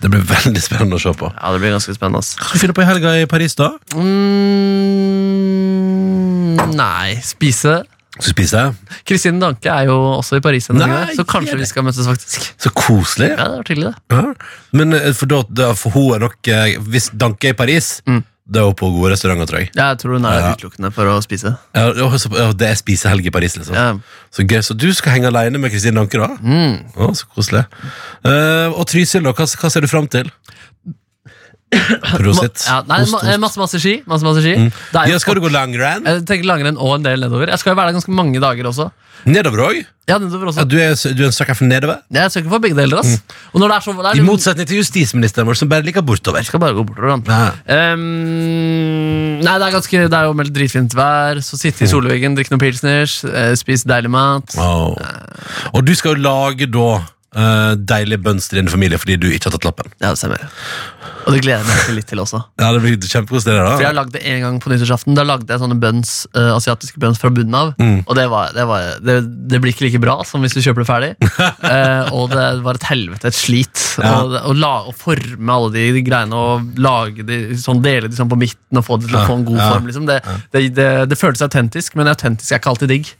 [SPEAKER 2] Det blir veldig spennende å se på.
[SPEAKER 3] det blir ganske spennende. ass.
[SPEAKER 2] Hva skal du finne på i helga i Paris, da?
[SPEAKER 3] Mm, nei, spise
[SPEAKER 2] Skal du spise?
[SPEAKER 3] Kristine Danke er jo også i Paris, en
[SPEAKER 2] Nei,
[SPEAKER 3] gang, så kanskje
[SPEAKER 2] gjør det.
[SPEAKER 3] vi skal møtes, faktisk.
[SPEAKER 2] Så koselig.
[SPEAKER 3] Ja, det var tidlig, det.
[SPEAKER 2] Ja. Men eh, for, da, da, for hun er nok eh, Hvis Danke er i Paris, det er hun på gode restauranter, tror jeg.
[SPEAKER 3] Jeg tror hun er der
[SPEAKER 2] Ja.
[SPEAKER 3] utelukkende for å spise.
[SPEAKER 2] Ja, og så- og det er spisehelg i Paris, liksom.
[SPEAKER 3] Ja.
[SPEAKER 2] Så gøy, så du skal henge alene med Kristine Danke, da?
[SPEAKER 3] Mm.
[SPEAKER 2] Å, så koselig. Eh, og Trysil, da? Hva, hva ser du fram til?
[SPEAKER 3] Ma,
[SPEAKER 2] Prosit.
[SPEAKER 3] ja, nei,
[SPEAKER 2] Ost, Mm.
[SPEAKER 3] ma, eh,
[SPEAKER 2] ost.
[SPEAKER 3] masse, masse ski. Masse, masse ski. Det er jo
[SPEAKER 2] Ja, skal du gå langrenn?
[SPEAKER 3] Jeg tenker langrenn og en del nedover. Jeg skal jo være der ganske mange dager også.
[SPEAKER 2] Nedover òg?
[SPEAKER 3] Ja, nedover også.
[SPEAKER 2] Ja, du, er- du er en sucker for nedover?
[SPEAKER 3] Jeg søker for begge deler, ass. Og når det er så... Det er
[SPEAKER 2] I
[SPEAKER 3] liksom-
[SPEAKER 2] motsetning til justisministeren vår, som bare liker bortover.
[SPEAKER 3] Jeg skal bare gå bortover, han.
[SPEAKER 2] Ja.
[SPEAKER 3] Ehm, nei, det er, ganske, det er jo meldt dritfint vær. Så sitte i solveggen, drikke noen pilsners, eh, spise deilig mat.
[SPEAKER 2] Wow. Og du skal jo lage da eh, deilige bønns til din familie fordi du ikke har tatt lappen.
[SPEAKER 3] Ja, det stemmer. Og det gleder jeg meg litt til også.
[SPEAKER 2] Ja, det blir kjempekoselig. det
[SPEAKER 3] For
[SPEAKER 2] da.
[SPEAKER 3] jeg har lagd det en gang på nyttårsaften. Da lagde jeg sånne bønns, eh, asiatiske bønns fra bunnen av.
[SPEAKER 2] Mm.
[SPEAKER 3] Og det, var, det, var, det, det blir ikke like bra som hvis du kjøper det
[SPEAKER 2] (laughs)
[SPEAKER 3] ferdig. Eh, og det var et helvete, et slit.
[SPEAKER 2] Ja.
[SPEAKER 3] Og, det- å la, å forme alle de, de greiene og lage de, sånn, dele de sånn på midten og få det til
[SPEAKER 2] Ja,
[SPEAKER 3] å få en god
[SPEAKER 2] ja,
[SPEAKER 3] form. Liksom. Det, det, det, det føltes autentisk, men autentisk er ikke alltid digg.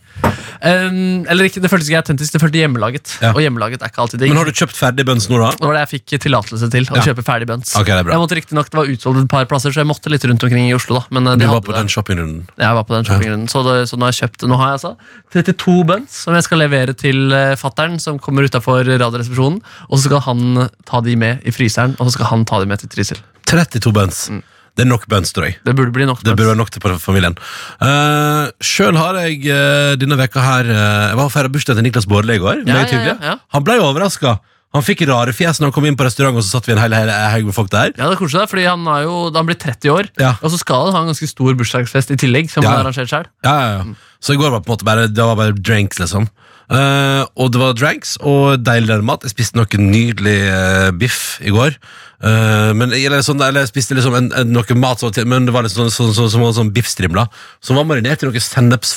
[SPEAKER 3] Eh, eller ikke, det føltes ikke autentisk, det føltes hjemmelaget.
[SPEAKER 2] Ja.
[SPEAKER 3] Og hjemmelaget er ikke alltid digg.
[SPEAKER 2] Men har du kjøpt ferdig bønns nå, da?
[SPEAKER 3] Det var det jeg fikk tillatelse til. Å
[SPEAKER 2] Ja.
[SPEAKER 3] kjøpe ferdig bønns.
[SPEAKER 2] Ok, det er bra.
[SPEAKER 3] Jeg måtte riktig nok, det var utsolgt et par plasser, så jeg måtte litt rundt omkring i Oslo. da Men eh,
[SPEAKER 2] Du
[SPEAKER 3] de
[SPEAKER 2] var
[SPEAKER 3] hadde
[SPEAKER 2] på
[SPEAKER 3] det.
[SPEAKER 2] den shoppingrunden.
[SPEAKER 3] Jeg var på den shoppingrunden så, det, så nå har jeg kjøpt Nå har jeg altså 32 bønns som jeg skal levere til eh, fatteren, som kommer utafor Radioresepsjonen. Og så skal han ta de med i fryseren, og så skal han ta de med til Trysil.
[SPEAKER 2] 32 bønns.
[SPEAKER 3] Mm.
[SPEAKER 2] Det er nok bønns, tror jeg.
[SPEAKER 3] Det burde bli nok.
[SPEAKER 2] Det
[SPEAKER 3] bønns.
[SPEAKER 2] burde være nok til for familien. Uh, Sjøl har jeg eh, denne veka her eh, Jeg var og feira bursdagen til Niklas Baarli i går.
[SPEAKER 3] Ja,
[SPEAKER 2] meget
[SPEAKER 3] ja,
[SPEAKER 2] hyggelig.
[SPEAKER 3] ja, ja.
[SPEAKER 2] Han ble jo overraska. Han fikk rare fjes når han kom inn på restaurant, og så satt vi en hel hel haug med folk der.
[SPEAKER 3] Ja, det er koselig, da, fordi han, er jo, han blir 30 år,
[SPEAKER 2] Ja.
[SPEAKER 3] og så skal han ha en ganske stor bursdagsfest i tillegg. Som
[SPEAKER 2] Ja.
[SPEAKER 3] han har arrangert selv.
[SPEAKER 2] Ja, ja, ja. Så i går var det på en måte bare, det var bare drinks, liksom. Eh, og det var dranks og deilig mat. Jeg spiste noe nydelig eh, biff i går. Eh, men, eller, sånn, eller jeg spiste liksom en, en, noe mat som var til, Men det var liksom sånn, sånn, sånn, sånn, sånn biffstrimler som var marinert i noe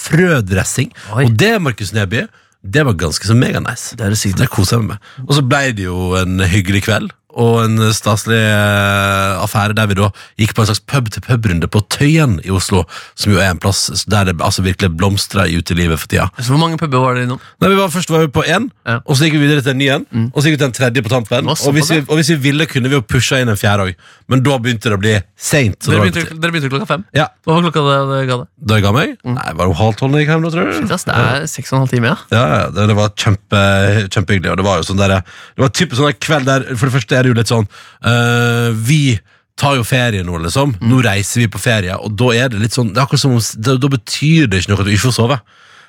[SPEAKER 2] sennepsfrødressing.
[SPEAKER 3] Oi.
[SPEAKER 2] Og det, Markus Neby, det var ganske så meganice.
[SPEAKER 3] Det er det sykt.
[SPEAKER 2] Det koser jeg meg med. Og så ble det jo en hyggelig kveld. Og en staselig eh, affære der vi da gikk på en slags pub-til-pub-runde på Tøyen i Oslo. Som jo er en plass der det altså, virkelig blomstrer i utelivet for tida.
[SPEAKER 3] Så hvor mange puber var dere innom?
[SPEAKER 2] Nei, vi var, først var vi på én,
[SPEAKER 3] Ja.
[SPEAKER 2] og så gikk vi videre til en ny en. Og så gikk vi til en tredje på tampen.
[SPEAKER 3] Nå,
[SPEAKER 2] Og hvis, vi,
[SPEAKER 3] såpass,
[SPEAKER 2] og hvis vi ville, kunne vi jo pusha inn en fjerde òg, men da begynte det å bli seint. så
[SPEAKER 3] Dere
[SPEAKER 2] da var det på
[SPEAKER 3] begynte, dere begynte klokka fem.
[SPEAKER 2] tide. Ja,
[SPEAKER 3] Hva var klokka det, det ga det?
[SPEAKER 2] da jeg ga meg?
[SPEAKER 3] Mm.
[SPEAKER 2] Nei, var det halv tolv da jeg gikk hjem, da, tror du?
[SPEAKER 3] Shit, ass, det er seks og en halv time, ja.
[SPEAKER 2] Ja, ja, det, det var kjempe, kjempehyggelig. Og det var jo sånn der, Det var typisk sånn der kveld der For det første er det jo litt sånn øh, Vi tar jo ferie nå, liksom. Nå reiser vi på ferie, og da er det litt sånn Det er akkurat som om da, da betyr det ikke noe at du ikke får sove.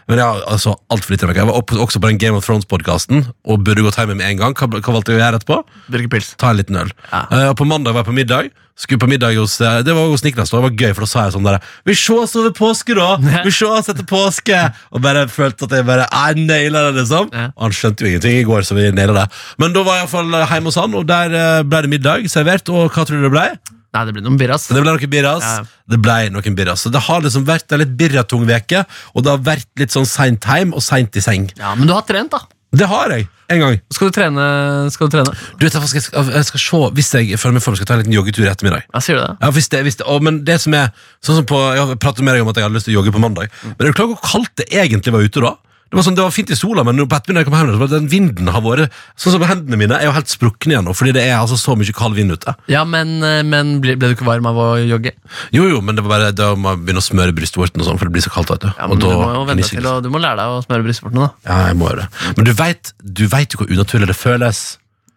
[SPEAKER 2] Men jeg har altså altfor lite. Jeg var opp, også på den Game of Thrones-podkasten og burde gått hjem med en gang. Hva, hva valgte jeg å gjøre etterpå?
[SPEAKER 3] Drikke pils.
[SPEAKER 2] ta en liten øl.
[SPEAKER 3] Ja.
[SPEAKER 2] Eh, og på mandag var jeg på middag. Skulle på middag hos, eh, det var hos Niklas, og det var gøy, for da sa jeg sånn der Vi sjås over påske, (laughs) da! Vi sjås etter påske! Og bare følte at jeg bare Jeg naila det, liksom.
[SPEAKER 3] Ja.
[SPEAKER 2] Og han skjønte jo ingenting i går, så vi naila det. Men da var jeg iallfall hjemme hos han, og der eh, ble det middag servert. Og hva tror du det ble?
[SPEAKER 3] Nei, det blir noen birr, ass.
[SPEAKER 2] Det ble noen birras.
[SPEAKER 3] Ja.
[SPEAKER 2] Det ble noen birras. Så det har liksom vært en litt birratung veke og det har vært litt sånn seint hjem og seint i seng.
[SPEAKER 3] Ja, men du har trent, da.
[SPEAKER 2] Det har jeg. En gang.
[SPEAKER 3] Skal du trene? Skal du trene?
[SPEAKER 2] Du vet, jeg skal, jeg skal se, Hvis jeg føler meg for, skal jeg ta en liten joggetur i ettermiddag.
[SPEAKER 3] Ja, sier du det?
[SPEAKER 2] Ja, hvis det, hvis det, å, men det som er sånn som på, Jeg pratet med deg om at jeg hadde lyst til å jogge på mandag.
[SPEAKER 3] Mm.
[SPEAKER 2] Men er du klar over hvor kaldt det egentlig var ute da? Det var sånn, det var fint i sola, men når på ettermiddagen jeg kom hjem, så var det den vinden har vært Sånn som hendene mine er jo helt sprukne igjen nå, fordi det er altså så mye kald vind ute.
[SPEAKER 3] Ja, men, eh, men ble, ble du ikke varm av å jogge?
[SPEAKER 2] Jo, jo, men det var bare da må jeg begynne å smøre brystvorten og sånn, for det blir så kaldt, vet du.
[SPEAKER 3] Ja,
[SPEAKER 2] og
[SPEAKER 3] men
[SPEAKER 2] da
[SPEAKER 3] du må jo vente
[SPEAKER 2] gnisser det.
[SPEAKER 3] til, å- du må lære deg å smøre brystvortene, da.
[SPEAKER 2] Ja, jeg må gjøre det. Men du veit du vet jo hvor unaturlig det føles.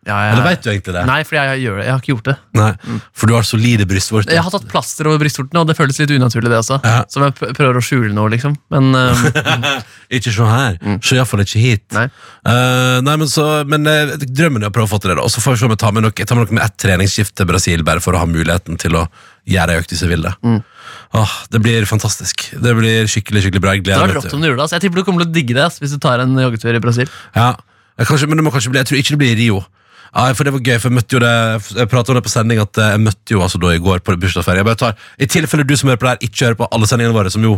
[SPEAKER 3] Ja, jeg-
[SPEAKER 2] Eller veit du egentlig det?
[SPEAKER 3] Nei, for jeg, gjør det. Jeg har ikke gjort det.
[SPEAKER 2] Nei, For du har solide brystvorter.
[SPEAKER 3] Jeg har tatt plaster over brystvortene, og det føles litt unaturlig, det også.
[SPEAKER 2] Ja.
[SPEAKER 3] Som jeg pr- prøver å skjule nå, liksom. Men (laughs) eh,
[SPEAKER 2] Ikke se her,
[SPEAKER 3] Mm.
[SPEAKER 2] så iallfall ikke hit.
[SPEAKER 3] Nei.
[SPEAKER 2] Eh, nei men, så, men eh, drømmen er å prøve å få til det, da. Og så får vi se om jeg tar med noe, jeg tar med noe med ett treningsskift til Brasil, bare for å ha muligheten til å gjøre ei økt hvis jeg vil det.
[SPEAKER 3] Mm.
[SPEAKER 2] Åh, det blir fantastisk. Det blir skikkelig skikkelig bra. Jeg
[SPEAKER 3] det var
[SPEAKER 2] gleder meg
[SPEAKER 3] rått
[SPEAKER 2] til
[SPEAKER 3] om du gjorde det. ass. Jeg tipper du kommer til å digge det ass, hvis du tar en joggetur i Brasil.
[SPEAKER 2] ja. jeg, kanskje, Men det må kanskje bli Jeg tror ikke det blir i Rio. Ja, for det var gøy, for jeg møtte jo det Jeg pratet om det på sending at eh, jeg møtte jo altså da i går på bursdagsferie. Jeg bare tar, I tilfelle du som hører på det her, ikke hører på alle sendingene våre, som jo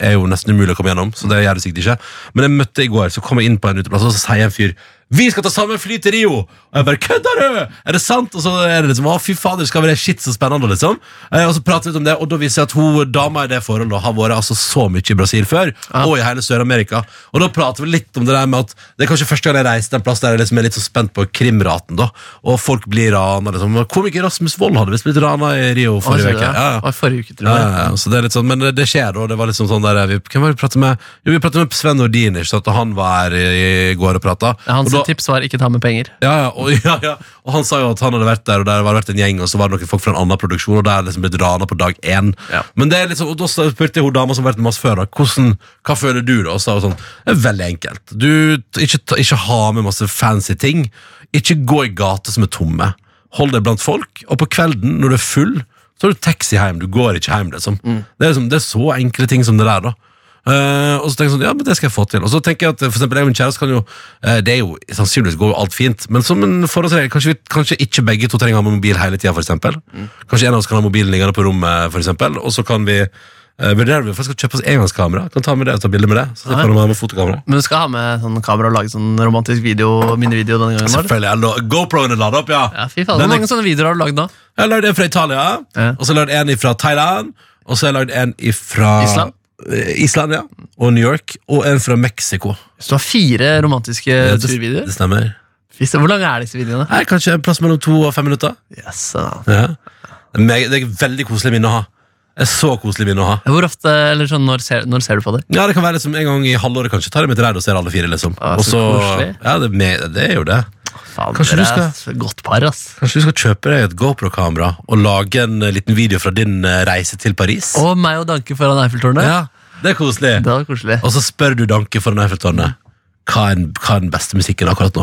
[SPEAKER 2] er jo nesten umulig å komme gjennom, så det gjør du sikkert ikke. Men jeg møtte i går, så kom jeg inn på en uteplass, og så sier en fyr vi skal ta samme fly til Rio! Og jeg bare 'Kødder du?!' Er det sant? Og så er det liksom 'Å, fy fader, skal være shit så spennende', liksom. Eh, og så prater vi litt om det, og da viser jeg at hun dama i det forholdet har vært altså så mye i Brasil før, og i hele Sør-Amerika. Og da prater vi litt om det der med at det er kanskje første gang jeg reiser til en plass der jeg liksom er litt så spent på krimraten, da. Og folk blir rana, liksom. Komiker Rasmus Wold hadde visst blitt rana i Rio forrige uke.
[SPEAKER 3] Oi, så det?
[SPEAKER 2] Ja, ja.
[SPEAKER 3] Oi, forrige uke, tror
[SPEAKER 2] Ja,
[SPEAKER 3] jeg.
[SPEAKER 2] ja, ja. Så det er litt sånn, men det skjer, og det var liksom sånn der vi, Hvem var det vi pratet med? Jo, vi pratet med Sven Nordin, ikke sant, og han var her i, i går og pratet.
[SPEAKER 3] Hans
[SPEAKER 2] og da-
[SPEAKER 3] tips var ikke ta med penger.
[SPEAKER 2] ja, ja, og, (laughs) ja, ja. og han sa jo at han hadde vært der, og der var det vært en gjeng, og så var det noen folk fra en annen produksjon, og der liksom blitt rana på dag én.
[SPEAKER 3] Ja.
[SPEAKER 2] Men det er liksom, og da spurte jeg hun dama som har vært med oss før, da, hvordan, hva føler du da? Og sa hun sånn, det er veldig enkelt. Du, t- ikke, ta- ikke ha med masse fancy ting. Ikke gå i gater som er tomme. Hold deg blant folk, og på kvelden, når du er full, så har du taxi hjem. Du går ikke hjem, liksom. Det, er liksom. det er så enkle ting som det der, da. Eh, og så tenker jeg sånn, ja, men det skal jeg få til Og så tenker jeg at eh, for eksempel jeg og min kjæreste kan jo eh, Det er jo, sannsynligvis går jo alt fint Men som en forholdsregel, kanskje, vi- kanskje ikke begge to trenger å ha mobil hele tiden for eksempel Kanskje en av oss kan ha mobilen liggende på rommet for eksempel Og så kan vi uh, vurdere om vi faktisk skal kjøpe oss engangskamera Kan ta med det og ta bilder med det Så
[SPEAKER 3] Ja.
[SPEAKER 2] kan vi ha med fotokamera
[SPEAKER 3] Men du skal ha med sånn kamera og lage sånn romantisk video, minivideo denne gangen? Var det?
[SPEAKER 2] Selvfølgelig, jeg la- GoProen er ladet opp, ja
[SPEAKER 3] Ja, fy
[SPEAKER 2] Den
[SPEAKER 3] faen, Hvor
[SPEAKER 2] er-
[SPEAKER 3] mange sånne videoer har du lagd nå?
[SPEAKER 2] Jeg har lagd en fra Italia
[SPEAKER 3] Ja.
[SPEAKER 2] Og så har jeg lagd en fra Thailand Og så har jeg lagd en fra Eh,
[SPEAKER 3] Island?
[SPEAKER 2] Island, ja Og New York Og en fra Meksiko
[SPEAKER 3] Så du har fire romantiske turvideoer?
[SPEAKER 2] Det stemmer
[SPEAKER 3] Fy søren, Hvor lange er disse videoene?
[SPEAKER 2] Her, kanskje en plass mellom to og fem minutter.
[SPEAKER 3] Yes, ja.
[SPEAKER 2] Ja. Det er meg- det er et veldig koselig minne å ha. Det er så koselig minne å ha.
[SPEAKER 3] Hvor ofte, eller sånn, når ser, når ser du på det?
[SPEAKER 2] Ja, Det kan være liksom en gang i halvåret, kanskje. Tar jeg meg til reid og ser alle fire. liksom
[SPEAKER 3] Ja, Ah,
[SPEAKER 2] Og
[SPEAKER 3] så
[SPEAKER 2] så-
[SPEAKER 3] koselig.
[SPEAKER 2] ja, det, er med, det er jo det.
[SPEAKER 3] Faen,
[SPEAKER 2] Kanskje
[SPEAKER 3] dere
[SPEAKER 2] du
[SPEAKER 3] er et Godt par, ass.
[SPEAKER 2] Kanskje du skal kjøpe deg et GoPro-kamera og lage en eh, liten video fra din eh, reise til Paris?
[SPEAKER 3] Og meg og Danke foran Eiffeltårnet.
[SPEAKER 2] Ja, Det er koselig.
[SPEAKER 3] Det var koselig. (laughs)
[SPEAKER 2] Og så spør du Danke foran Eiffeltårnet hva er, den, hva er den beste musikken akkurat nå.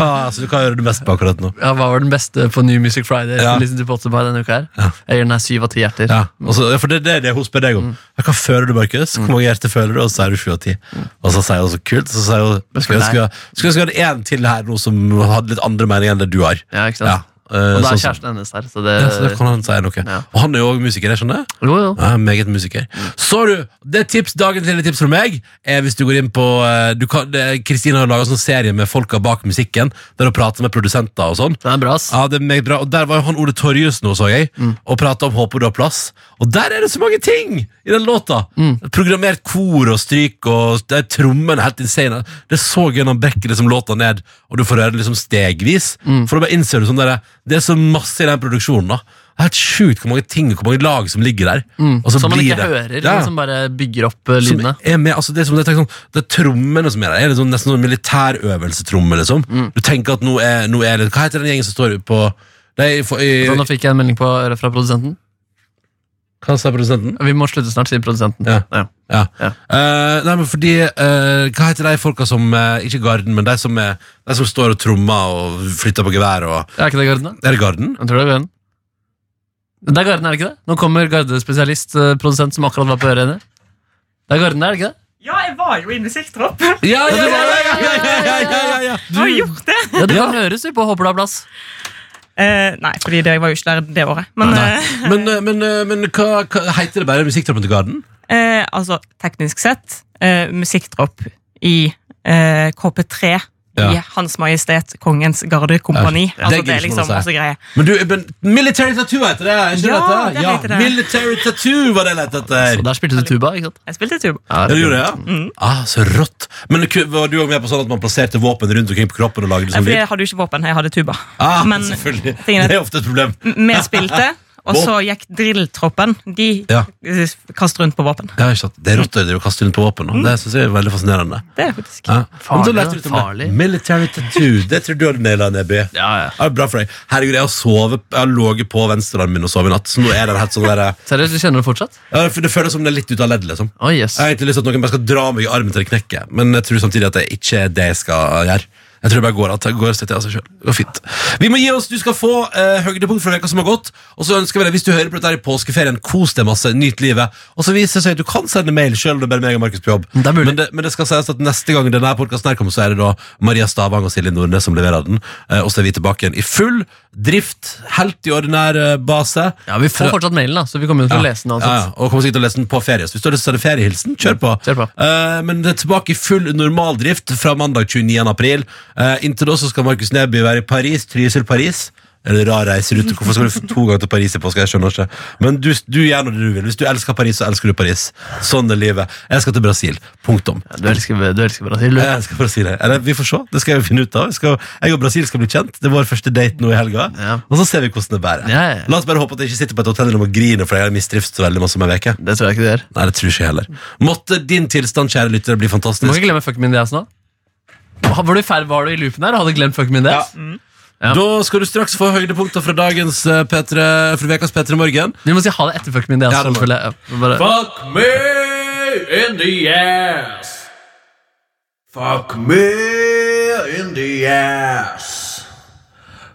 [SPEAKER 2] Hva, altså, hva gjør du mest på akkurat nå?
[SPEAKER 3] Ja, hva var den beste på New Music Friday?
[SPEAKER 2] Ja.
[SPEAKER 3] Listen to Potterby denne uka her Jeg gir den her syv av ti hjerter.
[SPEAKER 2] Ja, og så- ja, for det, det er det hun spør deg om.
[SPEAKER 3] Mm.
[SPEAKER 2] Hva føler du, Markus? Hvor mange hjerter føler du? Og så er du 7 av 10.
[SPEAKER 3] Mm.
[SPEAKER 2] Og så sier hun så kult. Så sier hun
[SPEAKER 3] Men
[SPEAKER 2] Skulle
[SPEAKER 3] spør
[SPEAKER 2] ønske skulle ønske jeg hadde én til her nå som hadde litt andre meninger enn det du har.
[SPEAKER 3] Ja, ikke sant?
[SPEAKER 2] Ja, eh,
[SPEAKER 3] Og
[SPEAKER 2] sånn
[SPEAKER 3] da er
[SPEAKER 2] som-
[SPEAKER 3] kjæresten hennes der. Så det,
[SPEAKER 2] Ja, så da kan han si noe.
[SPEAKER 3] Ja. Mm.
[SPEAKER 2] Og han er jo òg musiker, jeg skjønner?
[SPEAKER 3] jo, jo.
[SPEAKER 2] Ja, meget musiker. Så du, det tips, dagens lille tips fra meg er hvis du går inn på eh, du kan, det- Kristina har laga sånn serie med folka bak musikken, der hun prater med produsenter og sånn.
[SPEAKER 3] Den er bra, ass.
[SPEAKER 2] Ja, det er meget bra. Og der var jo han Ole Torjussen nå, så jeg,
[SPEAKER 3] Mm.
[SPEAKER 2] og prata om 'Håper du har plass'. Og der er det så mange ting i den låta!
[SPEAKER 3] Mm.
[SPEAKER 2] Programmert kor og stryk, og det er trommene helt insane. Det er så gøy når han brekker liksom låta ned, og du får høre det liksom stegvis.
[SPEAKER 3] Mm.
[SPEAKER 2] For da bare innser du sånn der, det er så masse i den produksjonen. da det er helt sjukt hvor mange ting hvor mange lag som ligger der. Og så
[SPEAKER 3] Mm. Som man
[SPEAKER 2] blir
[SPEAKER 3] ikke
[SPEAKER 2] det-
[SPEAKER 3] hører,
[SPEAKER 2] Ja
[SPEAKER 3] men som bare bygger opp eh,
[SPEAKER 2] som
[SPEAKER 3] lydene.
[SPEAKER 2] er med, altså det, er som, det, er tenkt sånn, det er trommene som er der. Det er sånn, nesten sånn militærøvelsetromme. Liksom. Du tenker at nå er, nå er det Hva heter den gjengen som står på Nei, for, i,
[SPEAKER 3] Så nå fikk jeg en melding på øret fra produsenten.
[SPEAKER 2] Hva sa produsenten?
[SPEAKER 3] Vi må slutte snart, sier produsenten.
[SPEAKER 2] Ja.
[SPEAKER 3] Ja.
[SPEAKER 2] Ja.
[SPEAKER 3] Ja.
[SPEAKER 2] Eh, nei, men fordi eh, Hva heter de folka som eh, Ikke Garden, men de som, er, de som står og trommer og flytter på gevær og
[SPEAKER 3] Er ikke det Garden, da?
[SPEAKER 2] Er det Garden?
[SPEAKER 3] Jeg tror det er Garden. Det er Garden, er det ikke det? Nå kommer Garde-spesialist, eh, produsent, som akkurat var på øret henne. Det er Garden, er det ikke det?
[SPEAKER 1] Ja, jeg var jo i musikktropp.
[SPEAKER 2] Ja, ja, ja! ja, ja, ja, ja, ja, ja.
[SPEAKER 1] Jeg har gjort det.
[SPEAKER 3] Ja, Du kan høres du på Håper du har plass.
[SPEAKER 1] Eh, nei, fordi det, jeg var jo ikke der det året. Men
[SPEAKER 2] Nei. Men, eh, men, eh, men hva, hva heter det bare musikktroppen til Garden?
[SPEAKER 1] eh, eh, altså, teknisk sett, eh, musikktropp i eh, KP3 i
[SPEAKER 2] Ja.
[SPEAKER 1] Hans Majestet Kongens Gardekompani.
[SPEAKER 2] Ja, det
[SPEAKER 1] Altså,
[SPEAKER 2] gidder
[SPEAKER 1] det er
[SPEAKER 2] ikke
[SPEAKER 1] liksom
[SPEAKER 2] man å si.
[SPEAKER 1] masse greier.
[SPEAKER 2] Men du, men Military Tattoo heter det! er Ikke
[SPEAKER 1] Ja,
[SPEAKER 2] dette?
[SPEAKER 1] det heter det.
[SPEAKER 2] Military Tattoo var det jeg lette
[SPEAKER 3] Og
[SPEAKER 2] etter!
[SPEAKER 3] der spilte du tuba, ikke sant?
[SPEAKER 1] Jeg spilte tuba.
[SPEAKER 3] Ja,
[SPEAKER 2] Ja, du gjorde det, ja? Ah, så rått. Men ku- var du også med på sånn at man plasserte våpen rundt omkring på kroppen og lagde
[SPEAKER 1] Nei,
[SPEAKER 2] sånn
[SPEAKER 1] fordi
[SPEAKER 2] lyd?
[SPEAKER 1] jeg hadde jo ikke våpen, jeg hadde tuba.
[SPEAKER 2] Ah,
[SPEAKER 1] (laughs) men
[SPEAKER 2] selvfølgelig.
[SPEAKER 1] tingen er-
[SPEAKER 2] Det er ofte et problem.
[SPEAKER 1] Vi spilte, og så gikk drilltroppen. De
[SPEAKER 2] Ja.
[SPEAKER 1] eh, kastet rundt på våpen.
[SPEAKER 2] Ja, ikke sant. Det er rått å drive og kaste rundt på våpen.
[SPEAKER 1] Mm.
[SPEAKER 2] og Det synes jeg er veldig fascinerende.
[SPEAKER 1] Det er faktisk
[SPEAKER 2] Ja. Men så
[SPEAKER 3] Farlig,
[SPEAKER 2] lærte du litt om det.
[SPEAKER 3] farlig.
[SPEAKER 2] Military Tattoo. Det tror du hadde naila, Neby.
[SPEAKER 3] Ja, ja.
[SPEAKER 2] Ja, bra for deg. Herregud, jeg har, sovet, jeg har ligget på venstrearmen min og sovet i natt. Så nå er den helt sånn der,
[SPEAKER 3] Seriøst, du kjenner det fortsatt?
[SPEAKER 2] ja, for Det føles som det er litt ut av ledd, liksom.
[SPEAKER 3] Å, yes.
[SPEAKER 2] Jeg har egentlig lyst til at noen bare skal dra meg i armen til det knekker, men jeg tror samtidig at det ikke er det jeg skal gjøre. Jeg tror det bare går at det går seg til av seg selv. Det går fint. Vi må gi oss, du skal få eh, høydepunkt fra veka som har gått, og så ønsker vi deg, hvis du hører på dette her i påskeferien, kos deg masse, nyt livet, og så viser det seg at du kan sende mail selv, det er bare meg og Markus på jobb.
[SPEAKER 3] Det er mulig.
[SPEAKER 2] Men det, men det skal sies at neste gang denne podcasten her kommer, så er det da Maria Stavang og Silje Nordnes som leverer den, eh, og så er vi tilbake igjen i full drift, helt i ordinær eh, base.
[SPEAKER 3] Ja, Vi får fortsatt mailen, da, så vi kommer jo til å lese den. altså.
[SPEAKER 2] Ja,
[SPEAKER 3] uansett.
[SPEAKER 2] ja, og kommer sikkert til å lese den på ferie. Så hvis du har lyst til å sende feriehilsen, kjør på.
[SPEAKER 3] Kjør på.
[SPEAKER 2] Eh, men det er tilbake i full normaldrift fra mandag 29. april. Eh, inntil da så skal Markus Neby være i Paris, Trysil, Paris. Eller rar reiserute. Hvorfor skal du to ganger til Paris i påska? Jeg skjønner ikke. Men du, du gjør nå det du vil. Hvis du elsker Paris, så elsker du Paris. Sånn er livet. Jeg skal til Brasil. Punktum.
[SPEAKER 3] Du elsker, du elsker Brasil, du.
[SPEAKER 2] Jeg elsker Brasil. jeg. Eller, vi får se. Det skal jeg finne ut av. Jeg, skal, jeg og Brasil skal bli kjent. Det er vår første date nå i helga.
[SPEAKER 3] Ja.
[SPEAKER 2] Og så ser vi hvordan det bærer.
[SPEAKER 3] Ja, ja, ja.
[SPEAKER 2] La oss bare håpe at jeg ikke sitter på et hotellrom og griner fordi jeg har mistrives så veldig masse om en uke.
[SPEAKER 3] Det tror jeg ikke du gjør.
[SPEAKER 2] Nei, det tror ikke jeg heller. Måtte din tilstand, kjære lyttere, bli
[SPEAKER 3] Du må ikke
[SPEAKER 2] fantastisk.
[SPEAKER 3] glemme fuck min DS nå. Var du, i ferd- var du i loopen her og hadde glemt fuck min DS? Ja.
[SPEAKER 2] Da skal du straks få høydepunkter fra dagens eh, P3, fra ukas P3 Morgen.
[SPEAKER 3] Vi må si ha det etter fuck min DS.
[SPEAKER 2] Ja, det må du.
[SPEAKER 3] selvfølgelig. Ja, bare-
[SPEAKER 4] Fuck me in the ass. Fuck me in the ass.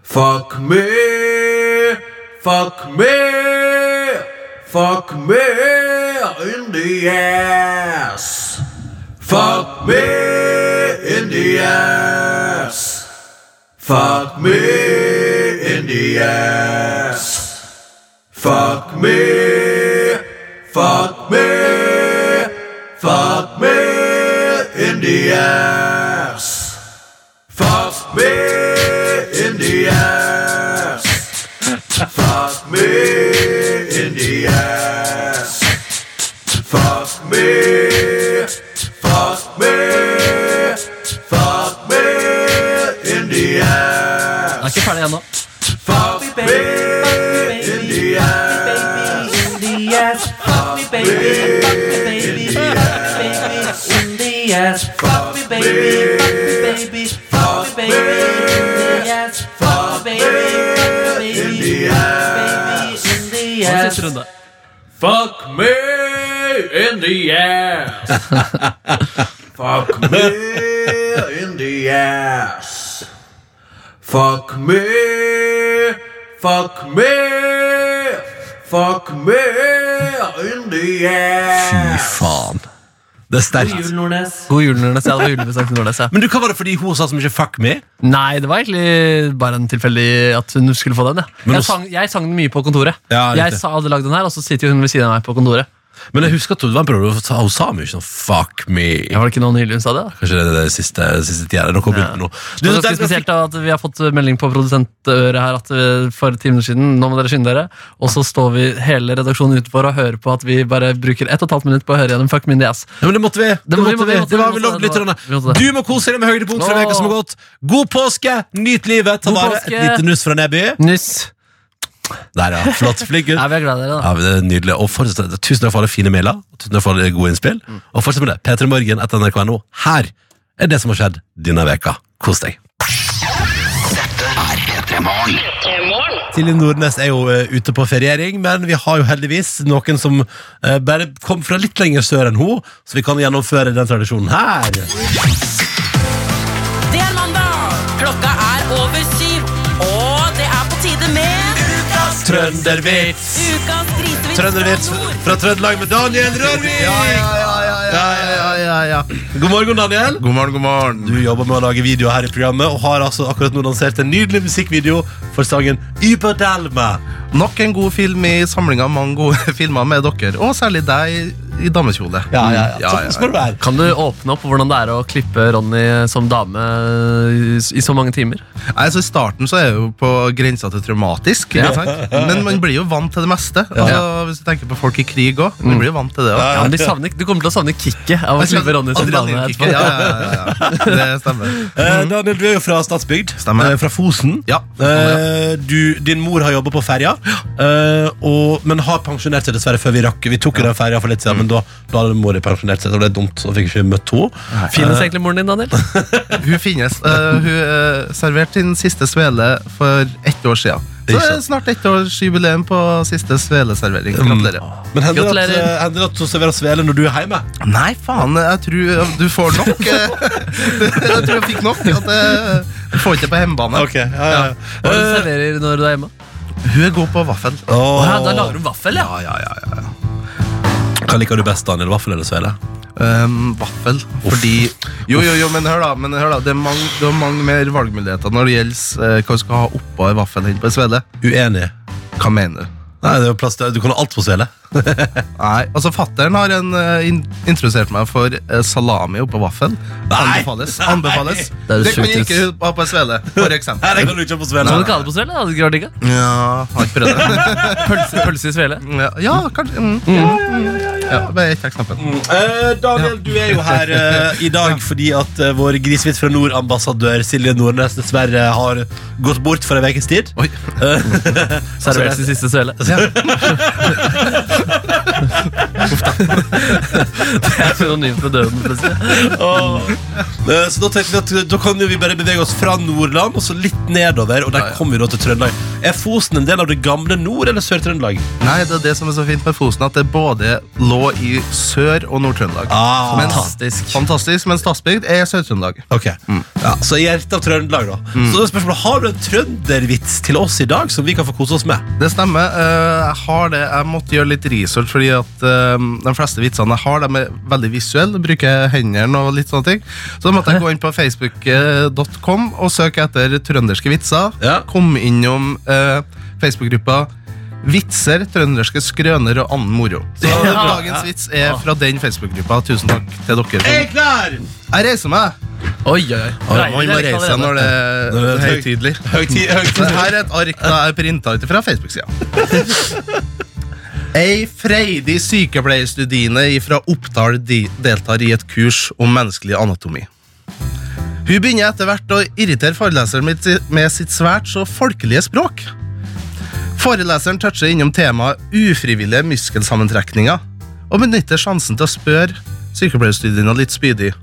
[SPEAKER 4] Fuck me. Fuck me. Fuck me in the ass. Fuck me in the ass. Fuck me in the ass. Fuck me, fuck me, fuck me in the ass. Fuck me in the ass. Fuck me in the ass. Fuck me, fuck me, fuck me in the ass.
[SPEAKER 3] Jeg er ikke ferdig ennå.
[SPEAKER 4] Fuck me in the ass.
[SPEAKER 5] Fuck me, baby. Fuck me, baby. Fuck me, baby. In the ass. Fuck me, baby. Fuck me, baby. Fuck me, baby. In the ass. Fuck me, baby. Fuck me, baby. Baby. In the ass.
[SPEAKER 3] Siste runde.
[SPEAKER 4] Fuck me in the ass. Fuck me in the ass. Fuck me, fuck me, fuck me in the ass.
[SPEAKER 2] faen. Det er sterkt.
[SPEAKER 5] Jul Nordnes.
[SPEAKER 3] God jul, Nordnes. Ja, det var julebesang til Nordnes, ja.
[SPEAKER 2] Men du, hva var det fordi hun sa så mye 'fuck me'?
[SPEAKER 3] Nei, det var egentlig bare en tilfeldig at hun skulle få den. Ja.
[SPEAKER 2] Men
[SPEAKER 3] Jeg,
[SPEAKER 2] også-
[SPEAKER 3] sang, jeg sang den mye på kontoret.
[SPEAKER 2] Ja, riktig.
[SPEAKER 3] jeg sa, hadde lagd den her, og så sitter jo hun ved siden av meg på kontoret.
[SPEAKER 2] Men jeg husker at det var en periode hvor hun sa- hun sa mye sånn 'fuck me'.
[SPEAKER 3] Ja, var det ikke noe nylig hun sa det? da?
[SPEAKER 2] Kanskje det er det siste, siste tida. Noe har begynt med nå.
[SPEAKER 3] Det
[SPEAKER 2] Du,
[SPEAKER 3] er ganske
[SPEAKER 2] den-
[SPEAKER 3] spesielt da, at Vi har fått eh, melding på produsentøret her at eh, for timer siden Nå må dere skynde dere. Og så står vi hele redaksjonen utenfor og hører på at vi bare bruker ett og et halvt minutt på å høre gjennom Fuck Mindy Ass.
[SPEAKER 2] Ja, men det måtte vi. Det
[SPEAKER 3] må- vi
[SPEAKER 2] måtte vi.
[SPEAKER 3] må- vi måtte-
[SPEAKER 2] Det var
[SPEAKER 3] vi
[SPEAKER 2] vi
[SPEAKER 3] måtte
[SPEAKER 2] lovd
[SPEAKER 3] det,
[SPEAKER 2] lytterne.
[SPEAKER 3] vi måtte det.
[SPEAKER 2] Du må kose deg med høydepunkt fra
[SPEAKER 3] Åh.
[SPEAKER 2] veka som har gått. God påske! Nyt livet! Ta
[SPEAKER 3] God
[SPEAKER 2] vare. Et
[SPEAKER 3] påske!
[SPEAKER 2] lite nuss fra Neby.
[SPEAKER 3] Nyss.
[SPEAKER 2] Der, ja. Flott. Flink gutt.
[SPEAKER 3] Ja, vi er glad i dere, da.
[SPEAKER 2] Ja, men det er nydelig. Og fortsett, tusen takk for alle fine mailer og tusen takk for alle gode innspill. Og fortsett med det. P3 Morgen etter nrk.no. Her er det som har skjedd denne veka. Kos deg. Silje Nordnes er jo eh, ute på feriering, men vi har jo heldigvis noen som eh, bare kom fra litt lenger sør enn hun, så vi kan gjennomføre den tradisjonen her.
[SPEAKER 6] Det er mandag, klokka er over syv, og det er på tide med
[SPEAKER 2] Trøndervits!
[SPEAKER 6] ukas grisevits
[SPEAKER 2] Trøndervits
[SPEAKER 6] fra nord.
[SPEAKER 2] fra Trøndelag med Daniel Rørvik! God morgen, Daniel.
[SPEAKER 7] God morgen, god morgen.
[SPEAKER 2] Du jobber med å lage video her i programmet og har altså akkurat nå lansert en nydelig musikkvideo for sangen Überdelme.
[SPEAKER 7] Nok en god film i samlinga av mange gode (laughs) filmer med dere, og særlig deg i damekjole. Mm.
[SPEAKER 2] Sånn skal det være.
[SPEAKER 3] Kan du åpne opp for hvordan det er å klippe Ronny eh, som dame i i så mange timer?
[SPEAKER 7] Nei, så I starten så er jeg jo på grensa til traumatisk, ikke sant? men man blir jo vant til det meste. Altså, hvis du tenker på folk i krig òg, man blir jo vant til det òg.
[SPEAKER 3] Mm. Ja, men de savner, du kommer til å savne kicket av å klippe Ronny som dame. etterpå.
[SPEAKER 7] Ja, ja, ja, ja. Det stemmer.
[SPEAKER 2] Eh, Daniel, du er jo fra Stadsbygd.
[SPEAKER 7] Stemmer.
[SPEAKER 2] Eh, Fra Fosen.
[SPEAKER 7] Ja.
[SPEAKER 2] Eh, du, din mor har jobba på ferja, eh, og- men har pensjonert seg dessverre før vi rakk. Vi tok jo den ferja for litt siden, men da, da hadde mor pensjonert seg, så det ble dumt. Så fikk vi ikke møtt henne.
[SPEAKER 3] Finnes egentlig moren din, Daniel?
[SPEAKER 7] Hun finnes. Eh, hun eh, serverte sin siste svele for ett år siden. Så det er snart ettårsjubileum på siste sveleservering. Gratulerer.
[SPEAKER 2] Men hender det at,
[SPEAKER 3] Gratulerer.
[SPEAKER 2] eh, hender det at hun serverer svele når du er hjemme?
[SPEAKER 7] Nei, faen, jeg tror eh, du får nok. (laughs) jeg tror jeg fikk nok. At jeg, du får ikke på hjemmebane.
[SPEAKER 2] Ok, ja, ja,
[SPEAKER 3] Hva er det du
[SPEAKER 2] ja.
[SPEAKER 3] serverer når du er hjemme?
[SPEAKER 7] Hun er god på vaffel.
[SPEAKER 3] Å ja, da lager du vaffel, ja.
[SPEAKER 7] Ja, ja, ja, ja. ja.
[SPEAKER 2] Hva liker du best, Daniel? Vaffel eller svele?
[SPEAKER 7] Ehm, vaffel, fordi Jo, jo, jo, men hør, da. Men hør da det, er mange, det er mange mer valgmuligheter når det gjelder eh, hva du skal ha oppå en vaffel enn på en svele.
[SPEAKER 2] Uenig.
[SPEAKER 7] Hva mener du?
[SPEAKER 2] Nei, det er jo plass til Du kan ha alt på svele.
[SPEAKER 7] Nei, altså Fattern har en, eh, in introdusert meg for eh, salami oppå vaffel.
[SPEAKER 2] Nei!
[SPEAKER 7] Anbefales. anbefales.
[SPEAKER 3] Det er
[SPEAKER 7] Det kan
[SPEAKER 3] sjukt,
[SPEAKER 7] jeg ikke ha på en svele, for eksempel.
[SPEAKER 2] Nei, det kan du ikke ha på svele.
[SPEAKER 3] Skal du ikke ha det på svele? da? Hadde du ikke vært digga?
[SPEAKER 7] Ja, har ikke prøvd det.
[SPEAKER 3] Pølse, pølse i svele?
[SPEAKER 7] (laughs) Ja, ja kanskje. Mm. Ja, mm. ja, bare ett eksempel.
[SPEAKER 2] Eh, Daniel, du er jo her eh, i dag fordi at eh, vår grisvits fra nord-ambassadør Silje Nordnes dessverre har gått bort for en ukes tid.
[SPEAKER 7] Oi.
[SPEAKER 3] Servert i siste svele? (laughs) Det er synonymt med døden. plutselig.
[SPEAKER 2] Eh, Så da tenkte vi at da kan jo vi bare bevege oss fra Nordland og så litt nedover, og der kommer vi da til Trøndelag. Er Fosen en del av det gamle Nord- eller Sør-Trøndelag?
[SPEAKER 7] Nei, det er det som er så fint med Fosen, at det både lå i Sør- og Nord-Trøndelag.
[SPEAKER 2] Ah.
[SPEAKER 7] Mens-
[SPEAKER 3] Fantastisk.
[SPEAKER 7] Fantastisk, men Stadsbygd er Sør-Trøndelag.
[SPEAKER 2] Ok, ja, Så i hjertet av Trøndelag, da. Så da er spørsmålet, Har du en trøndervits til oss i dag som vi kan få kose oss med?
[SPEAKER 7] Det stemmer. eh, jeg har det. Jeg måtte gjøre litt research, fordi at eh, de fleste vitsene jeg har, de er veldig visuelle. Bruker hendene og litt sånne ting. Så da måtte jeg gå inn på facebook.com og søke etter trønderske vitser.
[SPEAKER 2] Ja.
[SPEAKER 7] Kom innom eh, Facebook-gruppa Vitser, trønderske skrøner og annen moro. Så dagens vits er fra den Facebook-gruppa. Tusen takk til dere. som-
[SPEAKER 2] klar!
[SPEAKER 7] Jeg reiser meg!
[SPEAKER 3] Oi, oi, oi.
[SPEAKER 7] Man må reise seg når det er
[SPEAKER 2] Når det er
[SPEAKER 7] høytidelig.
[SPEAKER 2] Høytid,
[SPEAKER 7] Det
[SPEAKER 2] høytid.
[SPEAKER 7] her er et ark da jeg printa ut fra Facebook-sida. (laughs) Ei freidig sykepleierstudine fra Oppdal de- deltar i et kurs om menneskelig anatomi. Hun begynner etter hvert å irritere foreleseren med si- med sitt svært så folkelige språk. Foreleseren toucher innom temaet ufrivillige muskelsammentrekninger og benytter sjansen til å spørre sykepleierstudien litt spydig.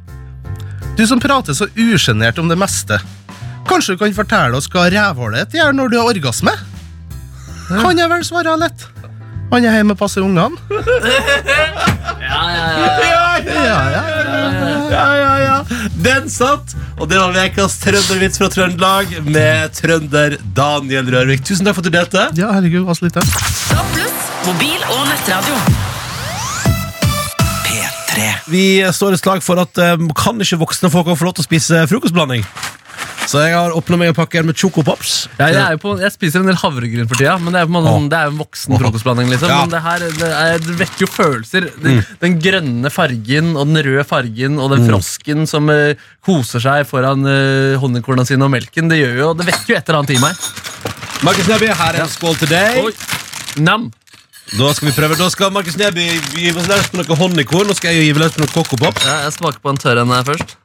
[SPEAKER 7] Du som prater så usjenert om det meste, Kanskje du kan fortelle oss hva rævhålet ditt gjør når du har orgasme? Kan jeg vel svare lett. Han er hjemme og passer ungene.
[SPEAKER 2] Ja, ja, ja, ja, ja, ja. Den satt, Og det var ukas trøndervits fra Trøndelag med trønder Daniel Rørvik. Tusen takk for at du delte.
[SPEAKER 7] Ja, herregud, hva så lite.
[SPEAKER 6] Stå pluss, mobil og nettradio.
[SPEAKER 2] Vi står i slag for at eh, kan ikke voksne folk få lov til å spise frokostblanding. Så jeg har åpna meg en pakke med chocopops.
[SPEAKER 3] Ja, jeg, er jo på, jeg spiser en del havregryn for tida, men det er på en måte sånn, det er jo en voksen frokostblanding. Liksom.
[SPEAKER 2] Ja.
[SPEAKER 3] Men det her det, er, det vekker jo følelser. Den, den grønne fargen og den røde fargen og den frosken som eh, koser seg foran eh, honningkorna sine og melken, det gjør jo, det vekker jo et eller annet i meg.
[SPEAKER 2] Markus Neby, her er en skål til deg.
[SPEAKER 3] Oi. Nam.
[SPEAKER 2] Da skal vi prøve. Da skal Markus Neby gi oss løs på noe honningkorn. Nå skal jeg gi løs på noe kokopop.
[SPEAKER 3] Ja, jeg smaker på en tørr en her først.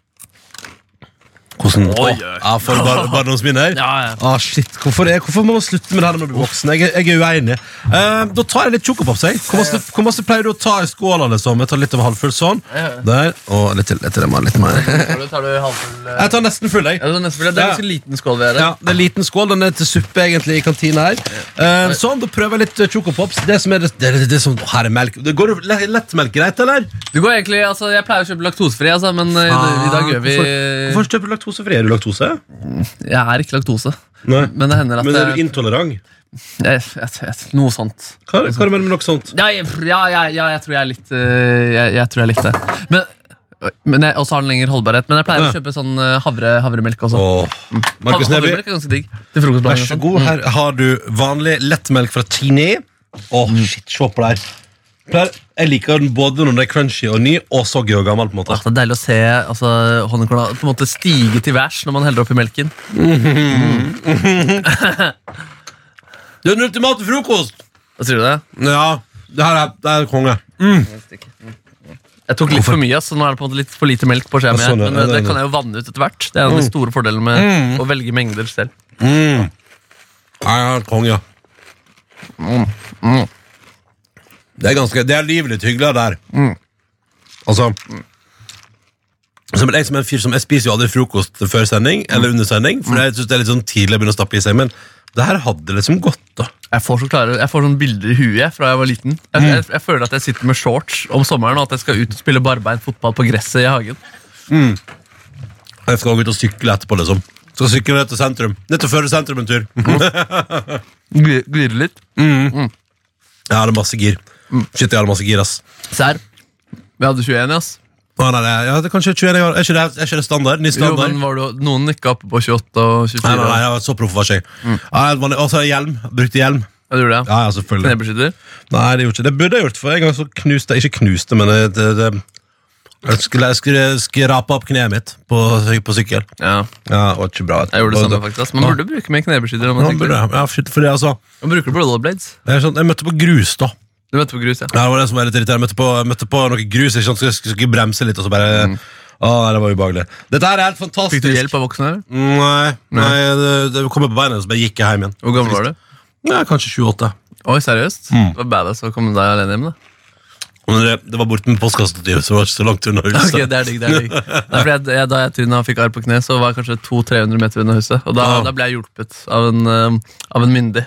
[SPEAKER 2] Hvordan? Ja, for bar barndomsminner.
[SPEAKER 3] Ja, ja.
[SPEAKER 2] Ah, shit. Hvorfor, er, hvorfor må man slutte med det her når man blir voksen? Jeg, er- jeg er uenig. Eh, da tar jeg litt chocopops. jeg. Hvor masse, hvor masse pleier du å ta i skåla? Liksom? Jeg tar litt over halvfull sånn.
[SPEAKER 3] Ja.
[SPEAKER 2] Der. Og litt til. Litt til den, litt mer.
[SPEAKER 3] Tar du, tar du halvfull eh?
[SPEAKER 2] Jeg tar nesten full, jeg.
[SPEAKER 3] ja, det er nesten fordi Det er en ganske liten skål vi har
[SPEAKER 2] Ja,
[SPEAKER 3] her.
[SPEAKER 2] det er en liten skål. Den er til suppe egentlig i kantina her. Eh, sånn, da prøver jeg litt eh, Choco Pops. Det som er det, det, det, det som, Her er melk. Det går jo le- lettmelk greit, eller?
[SPEAKER 3] Du går egentlig, altså, Jeg pleier å kjøpe laktosefri, altså, men eh, i dag gjør vi
[SPEAKER 2] Ah, Hvorfor, hvorfor kjøper du laktosefri? Er du laktose?
[SPEAKER 3] Jeg er ikke laktose,
[SPEAKER 2] Nei.
[SPEAKER 3] men det hender at
[SPEAKER 2] Men er du
[SPEAKER 3] jeg,
[SPEAKER 2] intolerant?
[SPEAKER 3] jeg, jeg, jeg, Noe sånt.
[SPEAKER 2] Hva, hva er det med noe sånt?
[SPEAKER 3] Ja, jeg- ja, ja, ja jeg tror jeg er litt øh, jeg, jeg tror jeg likte det. Men, men jeg, også har den lenger holdbarhet. Men jeg pleier å kjøpe sånn øh, havre, havremelk også.
[SPEAKER 2] Åh, Markus
[SPEAKER 3] Havre-
[SPEAKER 2] Neby,
[SPEAKER 3] havremelk er ganske digg. Til frokostblanding
[SPEAKER 2] vær
[SPEAKER 3] og
[SPEAKER 2] så
[SPEAKER 3] sånn.
[SPEAKER 2] god. Her har du vanlig lettmelk fra Tini. Åh, shit, se på det her. Pleier- Jeg liker den både når den er crunchy og ny, og soggy og gammel. på en måte
[SPEAKER 3] Åh, det er deilig å se altså, honningkorna på en måte stige til værs når man heller oppi melken.
[SPEAKER 2] Det er den ultimate frokost!
[SPEAKER 3] Hva sier du det?
[SPEAKER 2] Ja, det her er, det er konge.
[SPEAKER 3] Jeg tok litt for mye, så nå er det på en måte litt for lite melk på skjea mi.
[SPEAKER 2] Ja, sånn, ja,
[SPEAKER 3] men øh,
[SPEAKER 2] det Mm. er
[SPEAKER 3] det kan jeg jo vanne ut etter hvert. Det er en av de store fordelene med å velge mengder selv.
[SPEAKER 2] Mm. Ja, ja, konge.
[SPEAKER 3] Mm,
[SPEAKER 2] Det er ganske Det er livet litt hyggelig der.
[SPEAKER 3] Mm.
[SPEAKER 2] Altså som jeg, som er en fyr som, jeg spiser jo aldri frokost før sending
[SPEAKER 3] Mm.
[SPEAKER 2] eller under sending, for jeg synes det er litt sånn tidlig å begynne å stappe i seg, men det her hadde liksom gått, da.
[SPEAKER 3] Jeg får, så klare, jeg får sånne bilder i huet fra jeg var liten. Jeg,
[SPEAKER 2] Mm.
[SPEAKER 3] jeg, jeg føler at jeg sitter med shorts om sommeren og at jeg skal ut og spille barbeint fotball på gresset i hagen.
[SPEAKER 2] Jeg skal også ut og sykle etterpå, liksom. Skal sykle ned til sentrum. Ned til Førde sentrum en tur.
[SPEAKER 3] Mm. Glir- Glirre litt.
[SPEAKER 2] Jeg hadde masse gir.
[SPEAKER 3] Mm.
[SPEAKER 2] Shit, jeg hadde masse gir, ass.
[SPEAKER 3] Serr. Vi hadde 21, ass.
[SPEAKER 2] Å, nei, nei, ja, det er kanskje 21 år. Er ikke det, er ikke det standard? Ny
[SPEAKER 3] Jo,
[SPEAKER 2] standard?
[SPEAKER 3] men var du, noen nikka oppe på 28 og 24.
[SPEAKER 2] Nei, nei, nei, jeg var så proff var ikke jeg. Mm. Og så hjelm. Brukte hjelm.
[SPEAKER 3] Jeg tror det.
[SPEAKER 2] Ja, ja, selvfølgelig.
[SPEAKER 3] Knebeskytter.
[SPEAKER 2] Nei, det gjorde ikke. det burde jeg gjort, for en gang så knuste jeg Ikke knuste, men jeg- det, det, jeg skulle, jeg skulle skrape opp kneet mitt på, sy- på sykkel.
[SPEAKER 3] Ja,
[SPEAKER 2] Ja, det var ikke bra. vet du.
[SPEAKER 3] jeg gjorde det samme,
[SPEAKER 2] Og-
[SPEAKER 3] faktisk. ass. Man burde bruke mer knebeskytter. om
[SPEAKER 2] Ja,
[SPEAKER 3] Man,
[SPEAKER 2] man
[SPEAKER 3] tenker.
[SPEAKER 2] burde, ja, shit, fordi altså
[SPEAKER 3] man bruker rollerblades.
[SPEAKER 2] jeg, er sånn, jeg møtte på grus, da.
[SPEAKER 3] Du møtte på grus, ja.
[SPEAKER 2] Ja, det var det som var litt irriterende. Jeg møtte på, jeg møtte på noe grus, ikke sant? så jeg skulle, skulle bremse litt, og så bare Å, nei, det var ubehagelig. Dette her er helt fantastisk.
[SPEAKER 3] Mm. Fikk du hjelp av voksne? eller?
[SPEAKER 2] Nei, nei det, det kom jeg på beina, og så bare gikk jeg hjem igjen.
[SPEAKER 3] Hvor gammel var du?
[SPEAKER 2] Ja, kanskje 28.
[SPEAKER 3] Oi, seriøst?
[SPEAKER 2] Mm.
[SPEAKER 3] Det var badass å komme deg alene hjem, da.
[SPEAKER 2] (laughs) Men det, det var borte med postkastativet, så det var ikke så langt unna huset.
[SPEAKER 3] Ok, det er digg, det er digg. Nei, fordi jeg, jeg, da jeg tryna fikk arr på kne, så var jeg kanskje 200-300 meter unna huset. Og da,
[SPEAKER 2] Ja.
[SPEAKER 3] da ble jeg hjulpet av en, eh, av en myndig.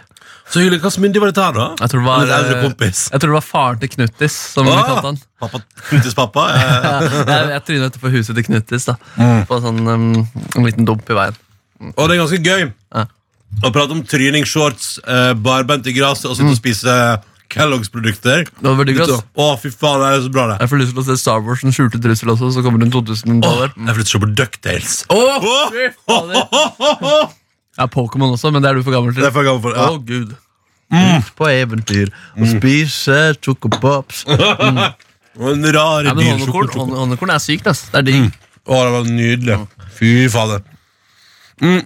[SPEAKER 2] Så hyggelig. Hvilken myndig var dette her, da?
[SPEAKER 3] Jeg tror det var,
[SPEAKER 2] En eldre
[SPEAKER 3] eh,
[SPEAKER 2] kompis.
[SPEAKER 3] Jeg tror det var faren til Knuttis, som vi
[SPEAKER 2] Ah!
[SPEAKER 3] kalte han.
[SPEAKER 2] Pappa, Knutis pappa?
[SPEAKER 3] (laughs)
[SPEAKER 2] Eh,
[SPEAKER 3] Jeg, jeg tryna etterpå huset til Knuttis, da.
[SPEAKER 2] Mm.
[SPEAKER 3] På en sånn em, en liten dump i veien.
[SPEAKER 2] og det er ganske gøy
[SPEAKER 3] Ja.
[SPEAKER 2] å prate om tryning, shorts, eh, barbeint i gresset og sitte og spise eh, Kellogg's-produkter.
[SPEAKER 3] Det var veldig godt.
[SPEAKER 2] Å, fy faen, det er så bra, det.
[SPEAKER 3] Jeg får lyst til å se Star Wars den skjulte trussel også, så kommer det en 2000-dollar.
[SPEAKER 2] Jeg flytter ikke på Ducktails.
[SPEAKER 3] Åh,
[SPEAKER 2] Åh!
[SPEAKER 3] fy fader. Ja, Pokémon også, men det er du for gammel til.
[SPEAKER 2] Det er for gammel for
[SPEAKER 3] Å,
[SPEAKER 2] ja.
[SPEAKER 3] gud. Ut på eventyr og spise chocopops.
[SPEAKER 2] Og En rar
[SPEAKER 3] Ja, men
[SPEAKER 2] dyr
[SPEAKER 3] honnekorn,
[SPEAKER 2] sjokolade.
[SPEAKER 3] honne- honnekorn er sykt, ass. Det er digg.
[SPEAKER 2] Å, det var nydelig. Fy fader. Mm.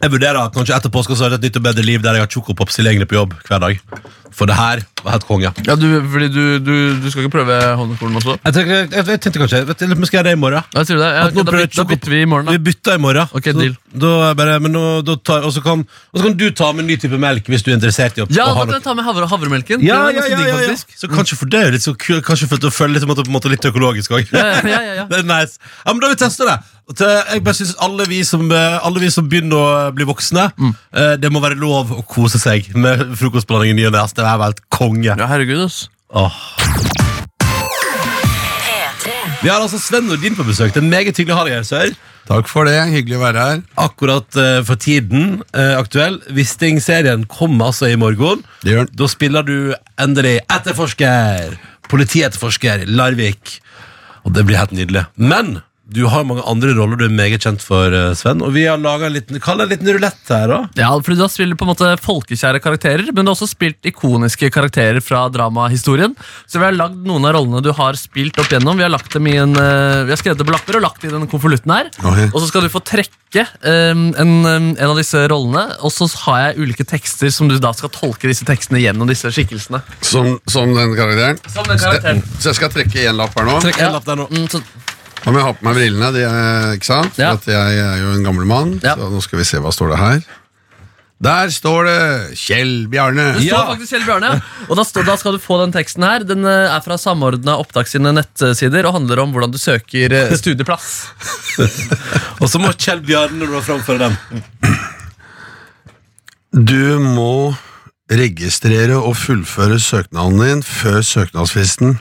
[SPEAKER 2] Jeg vurderer kanskje etter påske så er det et nytt og bedre liv der jeg har chocopops tilgjengelig på jobb hver dag. For det her var helt konge.
[SPEAKER 3] Ja, du, fordi du, du, du skal ikke prøve honnekorn også?
[SPEAKER 2] Jeg tenkte, jeg, jeg tenkte kanskje vet, du, Skal jeg det i morgen?
[SPEAKER 3] Ja, sier du det? Ja,
[SPEAKER 2] At nå
[SPEAKER 3] ok, da,
[SPEAKER 2] prøver
[SPEAKER 3] byt, da
[SPEAKER 2] Choco-
[SPEAKER 3] bytter vi i morgen,
[SPEAKER 2] Vi
[SPEAKER 3] da.
[SPEAKER 2] bytter i morgen.
[SPEAKER 3] Ok,
[SPEAKER 2] Så
[SPEAKER 3] deal.
[SPEAKER 2] Da er jeg bare, men nå, da tar, og, så kan, og så kan du ta med en ny type melk hvis du er interessert i å
[SPEAKER 3] Ja,
[SPEAKER 2] å
[SPEAKER 3] da
[SPEAKER 2] ha
[SPEAKER 3] kan jeg
[SPEAKER 2] noe.
[SPEAKER 3] ta med havre, havremelken.
[SPEAKER 2] Ja,
[SPEAKER 3] Den
[SPEAKER 2] ja,
[SPEAKER 3] er ganske
[SPEAKER 2] ja,
[SPEAKER 3] digg,
[SPEAKER 2] ja, ja.
[SPEAKER 3] faktisk.
[SPEAKER 2] Så kanskje for det er jo litt så kul, kanskje for å føle litt, på en måte- på en måte litt økologisk òg.
[SPEAKER 3] Ja, ja, ja, ja.
[SPEAKER 2] (laughs) Det er nice. Ja, men Da har vi testa det. Og til- Jeg bare synes alle vi som, eh, alle vi som begynner å bli voksne, eh, det må være lov å kose seg med frokostblanding i ny og ne. ass. Det er vel helt konge.
[SPEAKER 3] Ja, herregud, ass.
[SPEAKER 2] Åh. Vi har altså Sven Nordin på besøk. Det er meget hyggelig å ha deg her, sør.
[SPEAKER 8] Takk for det. Hyggelig å være her.
[SPEAKER 2] Akkurat eh, for tiden eh, aktuell. Wisting-serien kommer altså i morgen.
[SPEAKER 8] Det gjør den.
[SPEAKER 2] Da spiller du endelig etterforsker. Politietterforsker Larvik. Og det blir helt nydelig. Men du har mange andre roller du er meget kjent for, eh, Sven. Og vi har laga en liten, kall det en liten rulett her, da.
[SPEAKER 3] Ja, fordi Du har spilt på en måte folkekjære karakterer, men du har også spilt ikoniske karakterer fra dramahistorien. Så vi har lagd noen av rollene du har spilt opp gjennom. Vi har, lagt dem i en, eh, vi har skrevet det på lapper og lagt det i den konvolutten her.
[SPEAKER 8] Ok.
[SPEAKER 3] Og så skal du få trekke eh, en, en av disse rollene, og så har jeg ulike tekster som du da skal tolke disse tekstene gjennom disse skikkelsene.
[SPEAKER 8] Som, som den karakteren.
[SPEAKER 3] Som den karakteren.
[SPEAKER 8] Så jeg skal trekke én lapp her nå.
[SPEAKER 2] Trekk en lapp der nå.
[SPEAKER 3] Mm, så,
[SPEAKER 8] Nå må jeg ha på meg brillene, de er, ikke sant? For
[SPEAKER 3] Ja.
[SPEAKER 8] at jeg er jo en gammel mann.
[SPEAKER 3] Ja.
[SPEAKER 8] Så nå skal vi se hva står det her. Der står det Kjell Bjarne.
[SPEAKER 3] Det står faktisk Kjell Bjørne, ja. Og da, står, da skal du få den teksten her. Den eh, er fra Samordna opptak sine nettsider og handler om hvordan du søker eh, studieplass.
[SPEAKER 2] Og så må Kjell Bjarne da framføre den.
[SPEAKER 8] Du må registrere og fullføre søknaden din før søknadsfristen.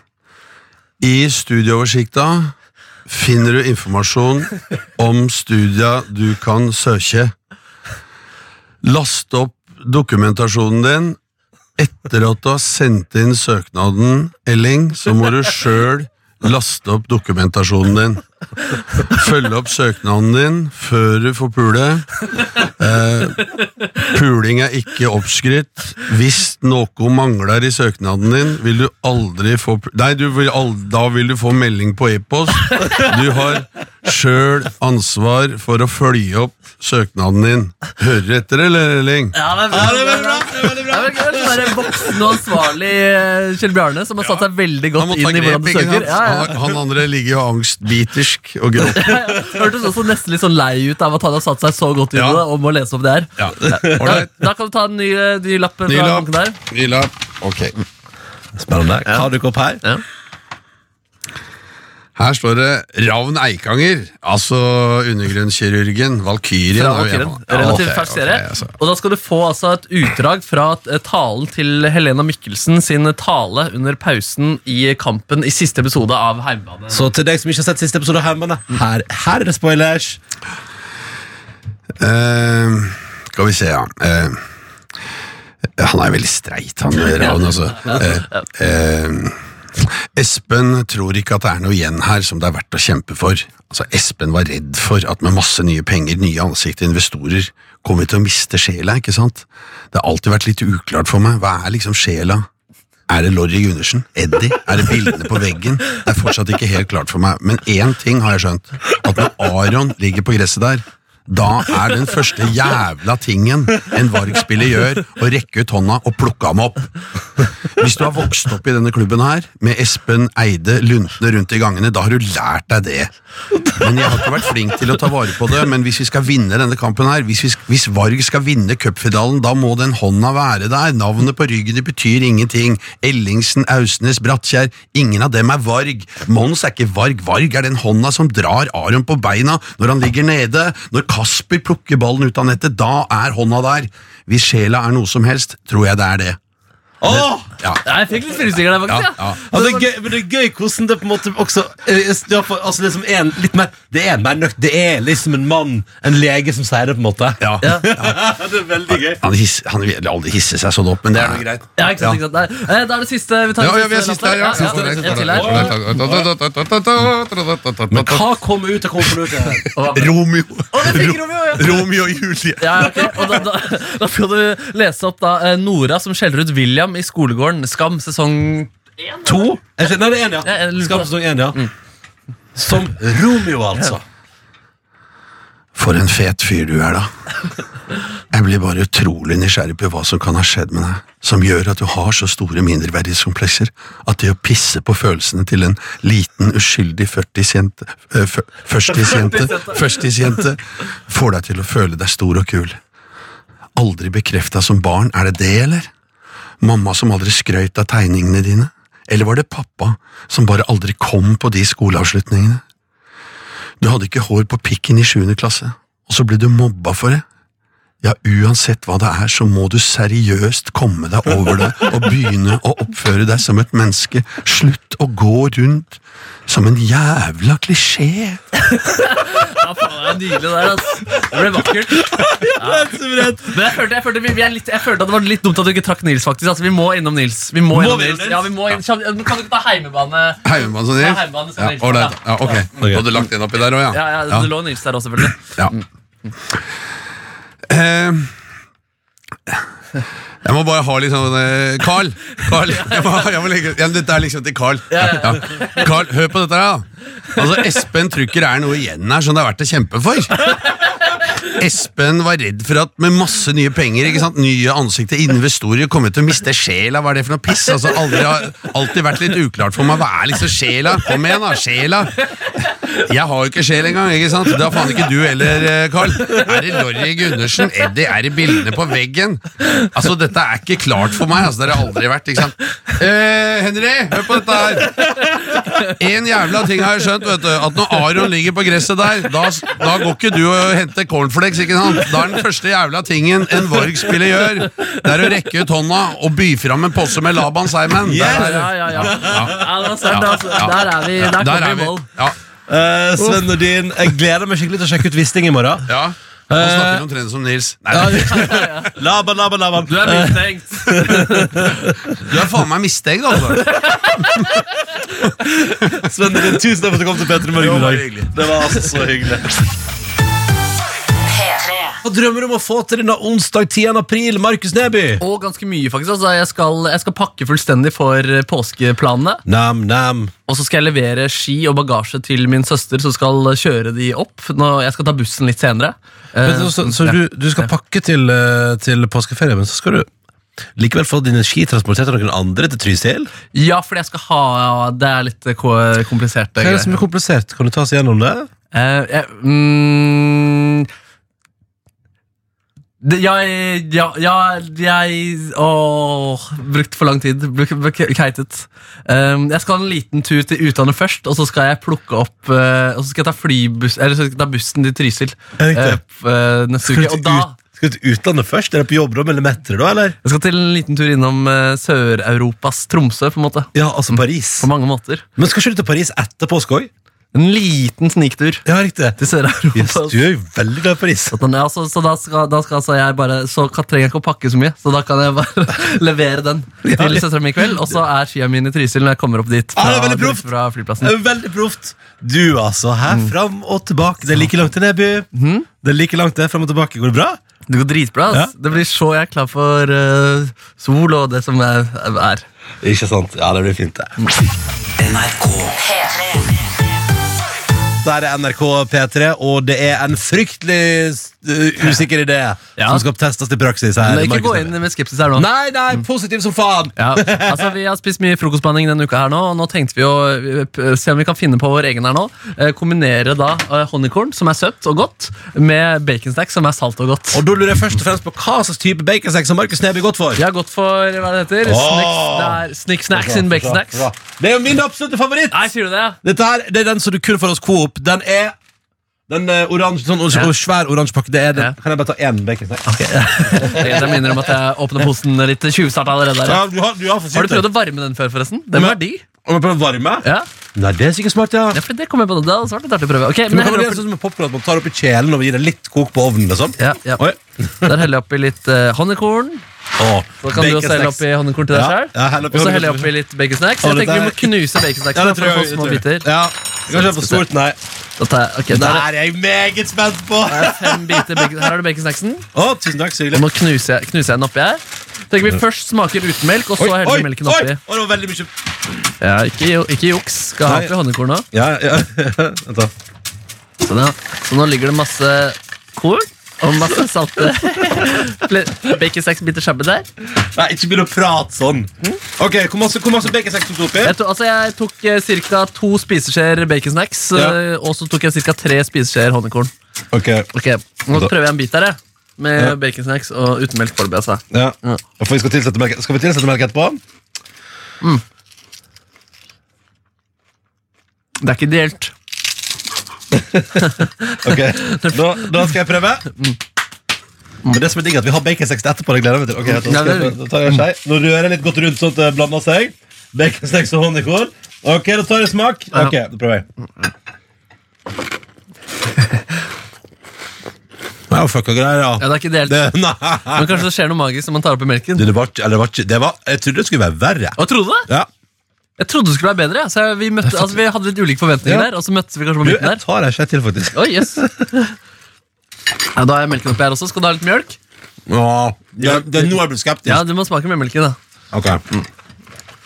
[SPEAKER 8] I studieoversikta finner du informasjon om studia du kan søke. Last opp dokumentasjonen din. Etter at du har sendt inn søknaden, Elling, så må du sjøl laste opp dokumentasjonen din. Følge opp søknaden din før du får pule. Eh, Puling er ikke oppskrytt. Hvis noe mangler i søknaden din, vil du aldri få pu- Nei, du vil aldri, da vil du få melding på e-post. Du har sjøl ansvar for å følge opp søknaden din. Hører du etter, eller, Elling?
[SPEAKER 3] (laughs) Ja, det er veldig bra. Det er veldig bra. Det er voksen og ansvarlig eh, Kjell Bjarne som har satt seg veldig
[SPEAKER 8] Han
[SPEAKER 3] godt
[SPEAKER 8] må
[SPEAKER 3] inn
[SPEAKER 8] ta
[SPEAKER 3] i hvordan
[SPEAKER 8] grep,
[SPEAKER 3] du
[SPEAKER 8] ikke
[SPEAKER 3] søker.
[SPEAKER 8] sant?
[SPEAKER 3] Ja, ja.
[SPEAKER 8] Han, han andre ligger jo angstbitersk og gråter.
[SPEAKER 3] Hørtes også nesten litt sånn lei ut av at han har satt seg så godt inn i
[SPEAKER 8] Ja.
[SPEAKER 3] det og må lese opp det her.
[SPEAKER 8] Ja.
[SPEAKER 3] Da,
[SPEAKER 8] Ålreit.
[SPEAKER 3] da kan du ta en ny, eh, ny lapp fra
[SPEAKER 8] Ny lapp.
[SPEAKER 3] bunken der.
[SPEAKER 8] Ny lapp. Ok.
[SPEAKER 2] Spennende. Hva har dukket opp her?
[SPEAKER 8] Her står det Ravn Eikanger, altså undergrunnskirurgen. Valkyrien.
[SPEAKER 3] Fra
[SPEAKER 8] er jo en
[SPEAKER 3] Valkyrien.
[SPEAKER 8] av- Ja,
[SPEAKER 3] Relativt
[SPEAKER 8] ok,
[SPEAKER 3] fersk
[SPEAKER 8] ok,
[SPEAKER 3] serie.
[SPEAKER 8] altså.
[SPEAKER 3] Og da skal du få altså et utdrag fra eh, talen til Helena Mikkelsen sin tale under pausen i kampen i siste episode av Heimbane.
[SPEAKER 2] Så til deg som ikke har sett siste episode av Hjemmene, her, her er det spoilers.
[SPEAKER 8] Eh, skal vi se, ja. Eh, han er veldig streit,
[SPEAKER 3] (laughs)
[SPEAKER 8] han Ravn, altså. Eh, eh, Espen tror ikke at det er noe igjen her som det er verdt å kjempe for. Altså, Espen var redd for at med masse nye penger, nye ansikter, investorer, kommer vi til å miste sjela, ikke sant? Det har alltid vært litt uklart for meg. Hva er liksom sjela? Er det Lorry Gundersen? Eddie? Er det bildene på veggen? Det er fortsatt ikke helt klart for meg, men én ting har jeg skjønt. At når Aron ligger på gresset der, da er den første jævla tingen en Varg-spiller gjør, å rekke ut hånda og plukke ham opp. Hvis du har vokst opp i denne klubben her, med Espen Eide luntende rundt i gangene, da har du lært deg det. Men jeg har ikke vært flink til å ta vare på det, men hvis vi skal vinne denne kampen her, hvis, vi, sk- hvis Varg skal vinne cupfinalen, da må den hånda være der. Navnet på ryggen det betyr ingenting. Ellingsen, Ausnes, Brattkjær, ingen av dem er Varg. Mons er ikke Varg, Varg er den hånda som drar Aron på beina når han ligger nede. Når Kasper plukker ballen ut av nettet, da er hånda der. Hvis sjela er noe som helst, tror jeg det er det.
[SPEAKER 2] Åh!
[SPEAKER 8] Ja.
[SPEAKER 3] Ja, jeg fikk litt frysninger der,
[SPEAKER 8] Ja,
[SPEAKER 3] faktisk.
[SPEAKER 8] ja.
[SPEAKER 2] Ja, det er gøy, men det er gøy hvordan det på en måte også eh, s- ja, for, altså liksom en, litt mer, Det er en mer nøkt, det er liksom en mann, en lege, som sier det, på en måte.
[SPEAKER 8] Ja.
[SPEAKER 2] det er veldig gøy.
[SPEAKER 8] Han, hiss, han vil aldri hisse seg sånn opp, men det er noe greit.
[SPEAKER 3] Ja, ikke sant, ikke sant. Nei. Eh, Da er det siste. Vi tar
[SPEAKER 8] Ja,
[SPEAKER 3] den
[SPEAKER 8] ja, vi er siste her, ja.
[SPEAKER 3] lappen.
[SPEAKER 8] Siste her,
[SPEAKER 3] en
[SPEAKER 8] siste
[SPEAKER 3] til her.
[SPEAKER 2] Men
[SPEAKER 8] her.
[SPEAKER 2] hva kom ut av (laughs) konvolutten?
[SPEAKER 8] Romeo.
[SPEAKER 3] Å, det fikk Romeo, ja.
[SPEAKER 8] Romeo og Julie.
[SPEAKER 3] Ja, ja, ok. Og da, da, da skal du lese opp da eh, Nora som skjeller ut William i skolegården. Skam sesong
[SPEAKER 2] To? Jeg Mm. skjønner- Nei, det er én,
[SPEAKER 3] Ja, jeg
[SPEAKER 2] ja.
[SPEAKER 3] lurer på
[SPEAKER 2] Skam
[SPEAKER 3] det.
[SPEAKER 2] sesong én, ja. Som Romeo, altså.
[SPEAKER 8] For en fet fyr du er, da. Jeg blir bare utrolig nysgjerrig på hva som kan ha skjedd med deg, som gjør at du har så store mindreverdighetskomplekser at det å pisse på følelsene til en liten, uskyldig 40-jente eh, fø- Førstisjente førstisjente får deg til å føle deg stor og kul. Aldri bekrefta som barn, er det det, eller? Mamma som aldri skrøyt av tegningene dine? Eller var det pappa som bare aldri kom på de skoleavslutningene? Du hadde ikke hår på pikken i sjuende klasse, og så ble du mobba for det. Ja, uansett hva det er, så må du seriøst komme deg over det og begynne å oppføre deg som et menneske. Slutt å gå rundt som en jævla klisjé.
[SPEAKER 3] Ja, faen, det er nydelig der, ass. Det ble vakkert. Men jeg følte, jeg følte, vi, vi er litt, jeg følte at det var litt dumt at du ikke trakk Nils, faktisk. Altså, vi må innom Nils. Vi må, innom Nils. Ja, vi må inn, Kjem- Kan du ikke ta heimebane?
[SPEAKER 8] Heimemann som
[SPEAKER 3] Ja, heimemann
[SPEAKER 8] Nils?
[SPEAKER 3] som
[SPEAKER 8] sånn, Ja,
[SPEAKER 3] Nils.
[SPEAKER 8] ålreit. Ja, ok. Du hadde lagt en oppi der òg,
[SPEAKER 3] Ja, ja,
[SPEAKER 8] Ja.
[SPEAKER 3] Det lå Nils der også, selvfølgelig.
[SPEAKER 8] Ja. Mm. Eh, jeg må bare ha litt sånn eh, Carl! (laughs) Carl jeg må, jeg må legge, ja, men dette er liksom til Carl. Ja. Carl, hør på dette, her, da. Altså, Espen Trykker er noe igjen her som det er verdt å kjempe for. Espen var redd for at med masse nye penger, ikke sant? nye ansikter, investorer kommer til å miste sjela. Hva er det for noe piss? Altså, aldri, har alltid vært litt uklart for meg. Hva er liksom sjela? Kom igjen, da. Sjela. Jeg har jo ikke sjel engang, ikke sant? Det har faen ikke du heller, eh, Carl. Er det Lorry Gundersen? Eddie er i bildene på veggen. Altså, dette er ikke klart for meg. Altså, det har det aldri vært, ikke sant? Eh, Henry, hør på dette her. En jævla ting har jeg skjønt, vet du. At når Aron ligger på gresset der, da, da går ikke du og henter cornflakes, ikke sant? Da er den første jævla tingen en Vorg-spiller gjør, det er å rekke ut hånda og by fram en posse med Laban Seimen. Der
[SPEAKER 3] Ja,
[SPEAKER 8] er det.
[SPEAKER 3] ja, ja. ja.
[SPEAKER 8] Ja,
[SPEAKER 3] ja det var sant,
[SPEAKER 8] Ja,
[SPEAKER 3] altså.
[SPEAKER 8] ja.
[SPEAKER 3] Der er vi. Der
[SPEAKER 8] der
[SPEAKER 3] kommer
[SPEAKER 8] er
[SPEAKER 3] vi i
[SPEAKER 8] vi.
[SPEAKER 3] mål.
[SPEAKER 8] Ja,
[SPEAKER 2] Eh, Sven Nordin, jeg gleder meg skikkelig til å sjekke ut Wisting i morgen.
[SPEAKER 8] ja. Eh. Nå snakker vi omtrent som Nils. Nei, nei.
[SPEAKER 2] Laban, laban, laban.
[SPEAKER 3] Du er mistenkt.
[SPEAKER 8] Du er faen meg mistenkt, altså.
[SPEAKER 2] Sven Nordin, tusen takk for at du kom til Petter i morgen i
[SPEAKER 8] Det var
[SPEAKER 2] dag.
[SPEAKER 8] hyggelig.
[SPEAKER 2] Det var altså så hyggelig. Hva drømmer du om å få til denne onsdag 10. april, Markus Neby?
[SPEAKER 3] Og ganske mye, faktisk. Altså, jeg, skal, jeg skal pakke fullstendig for eh, påskeplanene.
[SPEAKER 9] Nam, nam.
[SPEAKER 3] Og så skal jeg levere ski og bagasje til min søster, som skal kjøre de opp. Nå, jeg skal ta bussen litt senere. Eh,
[SPEAKER 9] Men, så så, så
[SPEAKER 3] ja.
[SPEAKER 9] du, du skal pakke til, eh, til påskeferie, men så skal du likevel få dine ski transportert av noen andre til Trysil?
[SPEAKER 3] Ja, fordi jeg skal ha Det er litt eh, ko- kompliserte
[SPEAKER 9] Hva er det
[SPEAKER 3] greier.
[SPEAKER 9] som er komplisert? Kan du ta oss gjennom det?
[SPEAKER 3] Eh, jeg- mm, det, jeg, ja, ja, jeg Åh, brukt for lang tid. Bruk- bruk- Keitet. Um, jeg skal ha en liten tur til utlandet først, og så skal jeg plukke opp eh, Og så skal jeg ta flybuss Eller så skal jeg ta bussen til Trysil eh, f- eh, neste
[SPEAKER 2] Skal du
[SPEAKER 3] uke.
[SPEAKER 2] til
[SPEAKER 3] Og da
[SPEAKER 2] ut- Skal du til utlandet først? Er det på jobb da, eller metre da, eller?
[SPEAKER 3] Jeg skal til en liten tur innom eh, Sør-Europas Tromsø, på en måte.
[SPEAKER 2] Ja, altså Paris.
[SPEAKER 3] På mange måter.
[SPEAKER 2] Men skal ikke du til Paris etter påske òg?
[SPEAKER 3] En liten sniktur
[SPEAKER 2] Ja, riktig.
[SPEAKER 3] til
[SPEAKER 2] Yes,
[SPEAKER 3] Sør-Europa.
[SPEAKER 2] du er jo veldig glad i Paris.
[SPEAKER 3] Så den- ja, så, så da skal, da skal altså jeg bare Så kan, trenger jeg ikke å pakke så mye, så da kan jeg bare (laughs) levere den til søstera mi i kveld. Og så er skia mine i Trysil når jeg kommer opp dit
[SPEAKER 2] Ah, det er
[SPEAKER 3] fra,
[SPEAKER 2] veldig proft.
[SPEAKER 3] fra
[SPEAKER 2] Det
[SPEAKER 3] flyplassen.
[SPEAKER 2] er Veldig proft. Du, altså. Her, fram og tilbake. Det er like langt til Neby. Det er like langt det, fram og tilbake. Går det bra?
[SPEAKER 3] Det går dritbra. ass. Det blir så jeg er klar for eh, sol og det som er. er.
[SPEAKER 2] Ikke sant? Ja, det blir fint, det. Der er NRK P3, og det er en fryktelig uh, usikker idé
[SPEAKER 3] Ja.
[SPEAKER 2] som skal testes i praksis her.
[SPEAKER 3] Men ikke
[SPEAKER 2] Markus
[SPEAKER 3] gå inn med skepsis her nå.
[SPEAKER 2] Nei, nei, positiv som faen!
[SPEAKER 3] Ja, altså Vi har spist mye frokostblanding denne uka, her nå og nå tenkte vi å eh, p- se om vi kan finne på vår egen. her nå Eh, Kombinere da eh, honningkorn, som er søtt og godt, med baconstack, som er salt og godt.
[SPEAKER 2] Og da lurer jeg først og fremst på hva slags type baconsekk som Markus Neby er godt for.
[SPEAKER 3] Vi har gått for hva det heter Snick- det er Snick Snacks in Bacon Snacks.
[SPEAKER 2] Det er jo min absolutte favoritt!
[SPEAKER 3] Nei, sier du det?
[SPEAKER 2] Dette her, det er den som du kun får hos Coop. Den er den eh, oransje, sånn og, og svær oransje pakke. Det er den.
[SPEAKER 3] Ja.
[SPEAKER 2] Kan jeg bare ta én baconsnack?
[SPEAKER 3] Jeg minner om at jeg åpner posen litt tjuvstarta allerede. der
[SPEAKER 2] Ja, du har, du har,
[SPEAKER 3] Har du prøvd å varme den før, forresten? Den var de.
[SPEAKER 2] Om jeg prøver varme?
[SPEAKER 3] Ja,
[SPEAKER 2] Nei, det er sikkert smart, ja.
[SPEAKER 3] ja for det kom jeg på nå. Det hadde vært litt artig å prøve. Ok,
[SPEAKER 2] Men
[SPEAKER 3] men
[SPEAKER 2] det
[SPEAKER 3] jeg
[SPEAKER 2] kan være
[SPEAKER 3] heller
[SPEAKER 2] det
[SPEAKER 3] oppi,
[SPEAKER 2] sånn som med popcorn, at man tar oppi kjelen og gir det litt kok på ovnen. Liksom.
[SPEAKER 3] ja, ja.
[SPEAKER 2] Oi.
[SPEAKER 3] Der heller jeg oppi litt eh, honningkorn.
[SPEAKER 2] Åh,
[SPEAKER 3] Så kan du også helle oppi honningkorn til deg
[SPEAKER 2] Ja,
[SPEAKER 3] selv
[SPEAKER 2] ja, hell oppi
[SPEAKER 3] Og så
[SPEAKER 2] honningkorn
[SPEAKER 3] heller jeg oppi litt bacon snacks. Jeg
[SPEAKER 2] Å, dette
[SPEAKER 3] tenker vi må
[SPEAKER 2] er-
[SPEAKER 3] knuse bacon snacks
[SPEAKER 2] Ja, det
[SPEAKER 3] for
[SPEAKER 2] tror
[SPEAKER 3] å få
[SPEAKER 2] jeg.
[SPEAKER 3] Sånn små
[SPEAKER 2] det tror jeg.
[SPEAKER 3] biter.
[SPEAKER 2] Ja. Kanskje for stort, nei.
[SPEAKER 3] Da tar jeg- ok,
[SPEAKER 2] Det
[SPEAKER 3] der er
[SPEAKER 2] er jeg meget spent på!
[SPEAKER 3] der er fem biter bacon, Her har du bacon snacksen.
[SPEAKER 2] Å, tusen takk, så
[SPEAKER 3] Og
[SPEAKER 2] hyggelig.
[SPEAKER 3] nå knuser jeg, knuser jeg den oppi her. Tenker vi først smaker uten melk, og så heller vi melken
[SPEAKER 2] oi,
[SPEAKER 3] oppi.
[SPEAKER 2] Å, det var veldig mye
[SPEAKER 3] Ja, ikke, ju- ikke juks. Skal ha
[SPEAKER 2] Nei.
[SPEAKER 3] oppi honningkorn nå.
[SPEAKER 2] Ja, ja. (laughs) Vent, da.
[SPEAKER 3] Så, da, så nå ligger det masse korn og masse
[SPEAKER 2] (laughs)
[SPEAKER 3] salte bacon-seks-biter shabbe der.
[SPEAKER 2] Nei, ikke begynn å prate sånn.
[SPEAKER 3] Hm?
[SPEAKER 2] Ok, Hvor masse, hvor masse baconsnack tok du oppi?
[SPEAKER 3] Jeg, to, altså jeg tok eh, ca. to spiseskjeer baconsnacks,
[SPEAKER 2] Ja.
[SPEAKER 3] eh, og så tok jeg ca. tre spiseskjeer honningkorn.
[SPEAKER 2] Ok,
[SPEAKER 3] Ok, Nå
[SPEAKER 2] Da-
[SPEAKER 3] prøver jeg en bit her, jeg. Med
[SPEAKER 2] Ja.
[SPEAKER 3] baconsnacks og uten melk foreløpig. Altså.
[SPEAKER 2] ja. For vi skal, tilsette melk. skal vi tilsette melk etterpå?
[SPEAKER 3] Det er ikke ideelt.
[SPEAKER 2] Ok, Da, da skal jeg prøve.
[SPEAKER 10] Mm. Men det som er digg er at vi har baconsex etterpå. Det gleder jeg meg til. Ok, da, skal jeg, da tar jeg en skei. Nå rører jeg litt godt rundt sånn at det blander seg. Baconsex og honningkål. Ok, da tar jeg smak. Ok, da prøver jeg.
[SPEAKER 2] Ja, fucka greier, ja.
[SPEAKER 3] Ja, det er ikke delt.
[SPEAKER 2] Det, nei.
[SPEAKER 3] Men kanskje det skjer noe magisk når man tar oppi melken.
[SPEAKER 2] Det, det var, ikke- eller, det var, ikke- det var, jeg trodde det skulle være verre.
[SPEAKER 3] Og trodde det?
[SPEAKER 2] Ja.
[SPEAKER 3] Jeg trodde det skulle være bedre. Så jeg- vi, møtte, altså, vi hadde litt ulike forventninger
[SPEAKER 2] Ja.
[SPEAKER 3] der, og så møttes vi kanskje på
[SPEAKER 2] Du,
[SPEAKER 3] midten der.
[SPEAKER 2] jeg tar en skei til, faktisk.
[SPEAKER 3] Oi, yes. ja, da er melken oppi her også. Skal du ha litt mjølk?
[SPEAKER 2] Ja, det, det, nå er jeg blitt skeptisk.
[SPEAKER 3] Ja, du må smake med melken, da.
[SPEAKER 2] Ok.
[SPEAKER 10] Mm.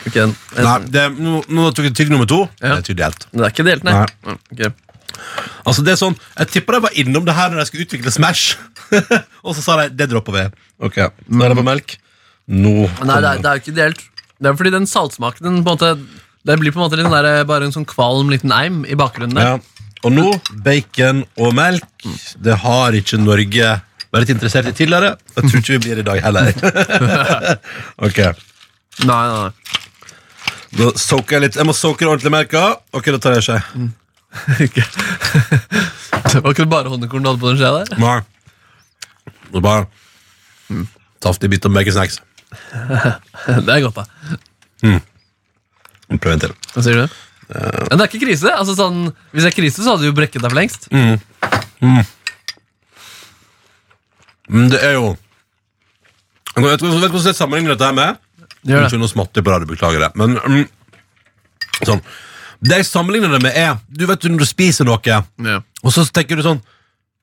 [SPEAKER 3] Ok, den-
[SPEAKER 2] Nei, det, nå, nå tok jeg tygg nummer to.
[SPEAKER 3] Ja.
[SPEAKER 2] Det er tydelig helt.
[SPEAKER 3] Det er ikke delt, nei.
[SPEAKER 2] Nei.
[SPEAKER 3] Mm, ok.
[SPEAKER 2] Altså, det er sånn, jeg tipper de var innom det her når de skulle utvikle Smash. (laughs) og så sa de det dropper vi. Ok, Nå er det på melk. Nå
[SPEAKER 3] nei det, er,
[SPEAKER 2] kommer-
[SPEAKER 3] det er jo ikke delt. Det er fordi den saltsmaken den på en måte, Det blir på en måte den der, bare en sånn kvalm liten eim i bakgrunnen der.
[SPEAKER 2] ja. Og nå bacon og melk. Det har ikke Norge vært interessert i tidligere. Jeg tror ikke vi blir i dag heller. (laughs) ok.
[SPEAKER 3] Nei, nei, nei.
[SPEAKER 2] Da soaker jeg litt. Jeg må soake det ordentlig i melka. Ok, da tar jeg en skje.
[SPEAKER 3] Mm. Det var ikke bare honningkorn du hadde på den skjea der? (laughs)
[SPEAKER 2] Nei. Det er bare Taftig bit av bacon snacks.
[SPEAKER 3] Det er godt, da.
[SPEAKER 2] Prøv en til.
[SPEAKER 3] Hva sier du? Men det er ikke krise. altså sånn, Hvis det er krise, så hadde du jo brekket deg for lengst.
[SPEAKER 2] Mm. Men Mm, det er jo Jeg vet ikke vet ikke hvordan jeg sammenligner dette her med.
[SPEAKER 3] Gjør det.
[SPEAKER 2] Unnskyld, nå smatt jeg på radio, beklager det. Men mm, sånn Det jeg sammenligner det med, er Du vet når du spiser noe,
[SPEAKER 3] Ja.
[SPEAKER 2] og så tenker du sånn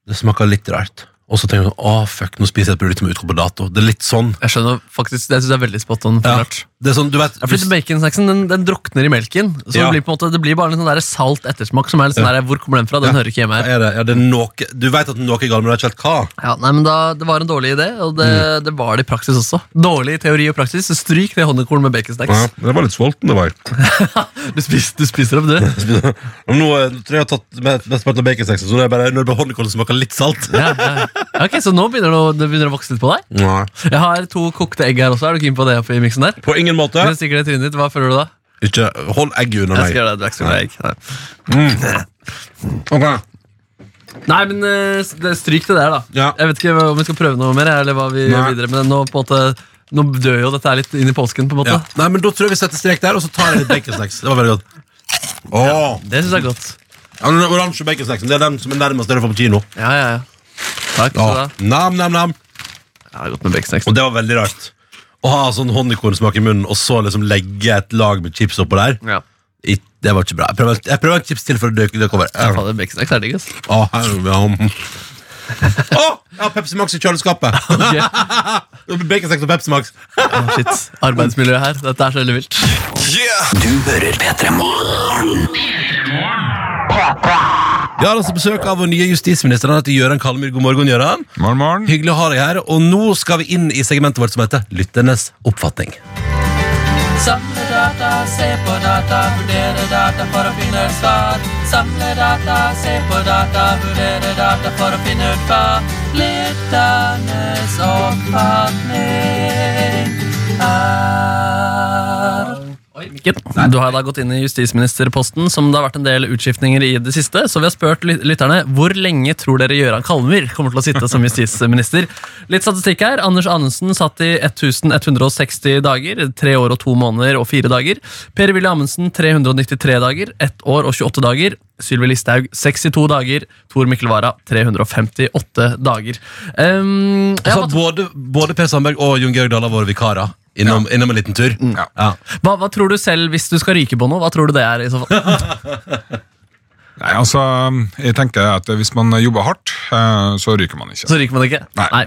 [SPEAKER 2] Det smaker litt rart. Og så tenker du sånn Å, fuck, nå spiser jeg et produkt som er utgått på dato. Det er litt sånn.
[SPEAKER 3] Jeg skjønner faktisk, det synes jeg er veldig spot on.
[SPEAKER 2] Ja.
[SPEAKER 3] Ja.
[SPEAKER 2] Det er sånn, du vet
[SPEAKER 3] Ja, fordi Baconsnacksen den, den drukner i melken. Så
[SPEAKER 2] Ja.
[SPEAKER 3] det, blir på en måte, det blir bare en sånn der salt ettersmak. som er litt sånn der, Hvor kommer den fra? Den hører ikke hjemme her.
[SPEAKER 2] Er det, ja, det er noe, du vet at noe er galt, men du vet ikke helt hva.
[SPEAKER 3] Ja, nei, men da, Det var en dårlig idé, og det, det var det i praksis også. Dårlig i teori og praksis, så stryk det honningkorn med baconsnacks.
[SPEAKER 2] jeg var litt sulten.
[SPEAKER 3] Du, spis, du spiser opp, du.
[SPEAKER 2] (laughs) Nå eh, tror jeg jeg har tatt med- mesteparten av baconsexen, så nå er det bare når det honningkålen smaker litt salt.
[SPEAKER 3] Ja, ja. Ok, Så nå begynner det, å- det begynner å vokse litt på deg?
[SPEAKER 2] Nei.
[SPEAKER 3] Jeg har to kokte egg her også. Er du keen på det oppi miksen der?
[SPEAKER 2] På ingen måte.
[SPEAKER 3] Hvis du stikker det i trynet ditt, Hva føler du da?
[SPEAKER 2] Ikke hold egget under
[SPEAKER 3] Jeg skal
[SPEAKER 2] meg.
[SPEAKER 3] gjøre det, du er ikke så glad i egg. Nei.
[SPEAKER 2] Ok.
[SPEAKER 3] Nei, men eh, det- stryk det der, da.
[SPEAKER 2] Ja.
[SPEAKER 3] Jeg vet ikke hva- om vi skal prøve noe mer. Eller hva vi gjør
[SPEAKER 2] Nei.
[SPEAKER 3] videre Men Nå, på en måte, nå dør jo dette her litt inn i påsken. på en måte
[SPEAKER 2] Ja. Nei, men Da tror jeg vi setter strek der, og så tar jeg litt baconsnacks. Det var veldig godt. Åh,
[SPEAKER 3] Det syns jeg er godt.
[SPEAKER 2] ja, men den Oransje baconsnacks. Det er den som er nærmest det du får på kino.
[SPEAKER 3] Ja, ja, ja Takk.
[SPEAKER 2] Ja.
[SPEAKER 3] skal du ha.
[SPEAKER 2] Nam, nam, nam.
[SPEAKER 3] Ja, det er godt med baconsnacks.
[SPEAKER 2] Og det var veldig rart. Å ha sånn honningkornsmak i munnen, og så liksom legge et lag med chips oppå der.
[SPEAKER 3] Ja.
[SPEAKER 2] I, det var ikke bra. Jeg prøver, jeg prøver en chips til for å døke det over. Ja.
[SPEAKER 3] Fader, baconsnacks er digg, ass.
[SPEAKER 2] Å, herre min. Å, jeg har Pepsi Max i kjøleskapet! (laughs) Det blir Baconsex og Pepsi Max.
[SPEAKER 3] Å, Shit. Arbeidsmiljøet her. Dette er så veldig vilt.
[SPEAKER 2] Vi har altså besøk av vår nye justisminister. Han heter Gøran Kalmyr. God morgen, Gøran. Hyggelig å ha deg her. Og nå skal vi inn i segmentet vårt som heter Lytternes oppfatning.
[SPEAKER 6] Samle data, se på data, vurdere data for å finne ut svar. Samle data, se på data, vurdere data for å finne ut hva. Lytternes oppfatning er
[SPEAKER 3] Mikken, du har da gått inn i justisministerposten, som det har vært en del utskiftninger i det siste. Så vi har spurt lyt- lytterne hvor lenge tror dere Gøran Kalmyr kommer til å sitte som justisminister. Litt statistikk her. Anders Anundsen satt i 1160 dager. Tre år og to måneder og fire dager. Per Willy Amundsen 393 dager. Ett år og 28 dager. Sylvi Listhaug 62 dager. Tor Mikkel Wara 358 dager. Um, ja,
[SPEAKER 2] Altså, både, både Per Sandberg og Jon Georg Dale har vært vikarer innom, innom en liten tur. Ja.
[SPEAKER 3] hva, hva tror du selv, hvis du skal ryke på noe, hva tror du det er i så fall?
[SPEAKER 11] Nei, altså, jeg tenker at hvis man jobber hardt, eh, så ryker man ikke.
[SPEAKER 3] Så ryker man ikke?
[SPEAKER 11] Nei. Nei.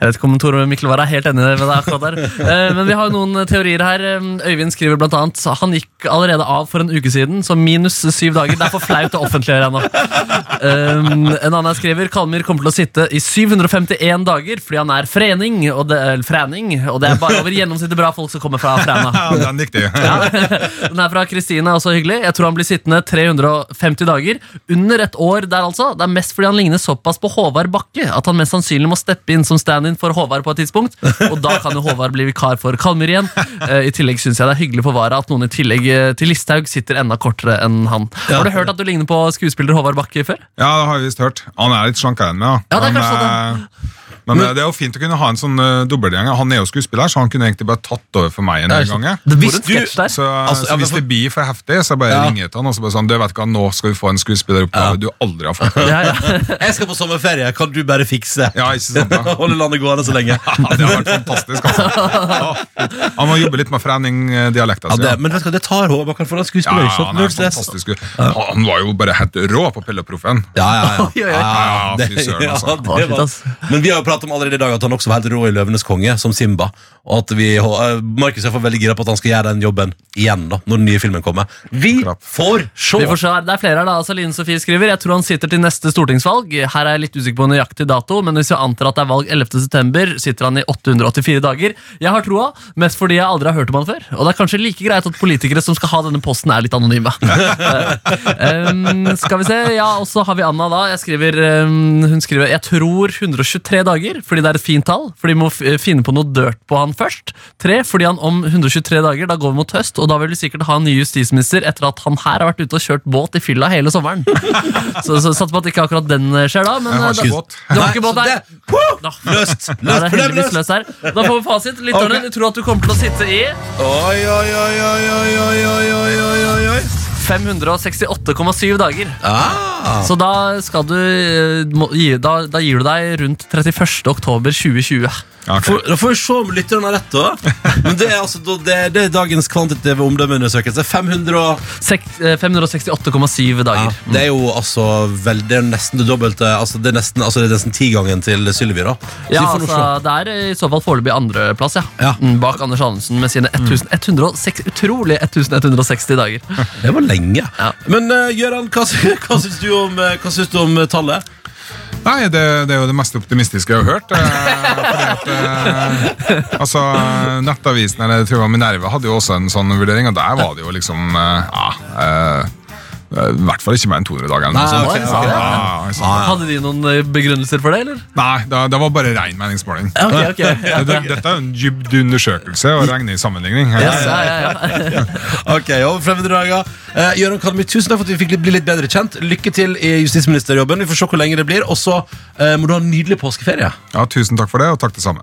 [SPEAKER 3] Jeg vet ikke om Tore Mikkel var helt enig med deg akkurat der. Eh, Men vi har jo noen teorier her. Eh, Øyvind skriver blant annet så han gikk allerede av for en uke siden, så minus syv dager. Det er for flaut å offentliggjøre ennå. Eh, En annen skriver Kalmyr kommer til å sitte i 751 dager fordi han er frening, og det, eller fræning, og det er bare over gjennomsnittet bra folk som kommer fra
[SPEAKER 11] (laughs)
[SPEAKER 3] Fræna.
[SPEAKER 11] Ja, den likte jeg.
[SPEAKER 3] (laughs) Den er fra Kristine, også hyggelig. Jeg tror han blir sittende 350 dager. Under et år der, altså. Det er mest fordi han ligner såpass på Håvard Bakke at han mest sannsynlig må steppe inn som stand-in for Håvard på et tidspunkt. Og da kan jo Håvard bli vikar for Kalmyr igjen. Eh, I tillegg syns jeg det er hyggelig for Vara at noen i tillegg eh, til Listhaug sitter enda kortere enn han. Har du hørt at du ligner på skuespiller Håvard Bakke før?
[SPEAKER 11] Ja, det har jeg visst hørt. Han er litt slankere enn meg, da.
[SPEAKER 3] Ja, det er kanskje
[SPEAKER 11] men, eh,
[SPEAKER 7] Men, eh, det er jo fint å kunne ha en sånn eh, dobbeltgjenger. Han er jo skuespiller, så han kunne egentlig bare tatt over for meg en
[SPEAKER 3] Ja, ikke
[SPEAKER 7] gang.
[SPEAKER 3] sant.
[SPEAKER 7] jeg.
[SPEAKER 3] Hvis
[SPEAKER 12] en
[SPEAKER 3] du-
[SPEAKER 12] sketsj der.
[SPEAKER 7] Så,
[SPEAKER 2] sånn
[SPEAKER 7] eh,
[SPEAKER 2] Altså,
[SPEAKER 7] så
[SPEAKER 2] ja, men
[SPEAKER 7] hvis
[SPEAKER 2] for-
[SPEAKER 7] det blir for heftig, så bare ringer jeg til han og så bare sånn, du vet hva, nå skal vi få en skuespilleroppgave du aldri har fått.
[SPEAKER 3] Ja, ja.
[SPEAKER 2] Jeg skal på sommerferie, kan du bare fikse?
[SPEAKER 7] Ja, ikke sant da?
[SPEAKER 2] (laughs) Holde landet gående så lenge.
[SPEAKER 7] Ja, det har vært fantastisk,
[SPEAKER 2] (laughs)
[SPEAKER 7] altså. Ja. Han må jobbe litt med frening-dialekta
[SPEAKER 2] Ja,
[SPEAKER 7] si.
[SPEAKER 2] det, men vet du hva, det tar Håvard Bakken for han er
[SPEAKER 7] Ja,
[SPEAKER 2] skuespiller.
[SPEAKER 7] ja,
[SPEAKER 2] ikke sant?
[SPEAKER 7] han er
[SPEAKER 2] Null stress.
[SPEAKER 7] fantastisk. Han var jo bare helt rå på Pelleproffen.
[SPEAKER 2] Ja, ja, ja.
[SPEAKER 3] Oi, (laughs) oi, oi.
[SPEAKER 7] Ja, fy søren, altså.
[SPEAKER 2] ja, det
[SPEAKER 3] Å, shit,
[SPEAKER 2] var-
[SPEAKER 3] ass.
[SPEAKER 2] Men vi har jo pratet om allerede i dag at han også var helt rå i Løvenes konge, som Simba. Og at vi, eh, Markus er i hvert fall veldig gira på at han skal gjøre den jobben igjen, da, når den nye filmen kommer. Vi
[SPEAKER 7] Akkurat.
[SPEAKER 2] får se!
[SPEAKER 3] Vi får se her. Det er flere her da, altså Line Sofie skriver Jeg tror han sitter til neste stortingsvalg Her er jeg litt usikker på nøyaktig dato Men hvis vi antar at det er valg 11. september Sitter han i 884 dager Jeg har troa, mest fordi jeg aldri har hørt om han før Og det er kanskje like greit at politikere som skal ha denne posten Er litt anonyme um, Skal vi se, ja, og så har vi Anna da Jeg skriver, um, hun skriver Jeg tror 123 dager, fordi det er et fint tall Fordi vi må f- finne på noe dørt på han først Tre, fordi han om 123 dager Da går vi mot høst, og da vil vi sikkert ha en ny justisminister Etter at han her har vært ute og kjørt båt i fylla hele
[SPEAKER 2] (laughs)
[SPEAKER 3] sommeren Så, så satser på at ikke akkurat den eh, skjer da Men
[SPEAKER 7] Jeg har
[SPEAKER 3] eh,
[SPEAKER 7] ikke
[SPEAKER 3] da-
[SPEAKER 7] båt.
[SPEAKER 3] du har ikke båt
[SPEAKER 2] Nei, så
[SPEAKER 3] der
[SPEAKER 2] det- Woo!
[SPEAKER 3] Da-
[SPEAKER 2] Løst!
[SPEAKER 3] Ja, det
[SPEAKER 2] Løst
[SPEAKER 3] er
[SPEAKER 2] problem,
[SPEAKER 3] heldigvis
[SPEAKER 2] løst!
[SPEAKER 3] løst her Da får vi fasit, lytterne
[SPEAKER 2] Ok.
[SPEAKER 3] Du tror at du kommer til å sitte i
[SPEAKER 2] Oi, oi, oi, oi, oi, oi, oi, oi, oi, oi, oi.
[SPEAKER 3] 568,7 dager
[SPEAKER 2] Ah.
[SPEAKER 3] Så da skal du eh, må- gi, da, da gir du deg rundt 31. oktober 2020
[SPEAKER 7] Ja, ok.
[SPEAKER 2] Får- Da får vi se om lytterne har rett, da. Men det er, altså, da- det, det er dagens kvantitative omdømmeundersøkelse. 500 og
[SPEAKER 3] Sek- eh, 568,7 dager
[SPEAKER 2] Ja, det er jo altså vel, Det er nesten det dobbelte. Altså, det er nesten, altså, det er nesten tigangen til Sylvi, da. Så
[SPEAKER 3] Ja,
[SPEAKER 2] vi får nå
[SPEAKER 3] altså, Det er i så fall foreløpig andreplass, ja.
[SPEAKER 2] Ja.
[SPEAKER 3] Mm, Bak Anders Anundsen med sine 1106, utrolig 1160 dager.
[SPEAKER 2] se. Det var lenge.
[SPEAKER 3] Ja.
[SPEAKER 2] Men uh, Gøran, hva, sy- (laughs) hva syns du om, eh, hva syns du om eh, tallet?
[SPEAKER 7] Nei, det, det er jo det mest optimistiske jeg har hørt. Eh, fordi at, eh, altså, Nettavisen eller jeg tror det var Minerva hadde jo også en sånn vurdering, og der var det jo liksom eh, ja, eh, eh, I hvert fall ikke mer enn 200 dager. eller noe sånt.
[SPEAKER 3] ok,
[SPEAKER 7] Ja,
[SPEAKER 3] ok.
[SPEAKER 7] Ah, ja, ikke sant.
[SPEAKER 3] Hadde de noen eh, begrunnelser for det, eller?
[SPEAKER 7] Nei, det, det var bare ren meningsmåling.
[SPEAKER 3] Ja, ok, ok. Ja,
[SPEAKER 7] (laughs) Det- det- Dette er jo en dybd undersøkelse og regner i sammenligning.
[SPEAKER 3] ja, ja, (laughs) ja.
[SPEAKER 2] Ok, over 500 dager. Eh, Gøran Kalmi, tusen takk for at vi fikk bli litt bedre kjent. Lykke til i justisministerjobben. Vi får se hvor lenge det blir. Og så eh, må du ha en nydelig påskeferie.
[SPEAKER 7] Ja, Tusen takk for det, og takk det samme.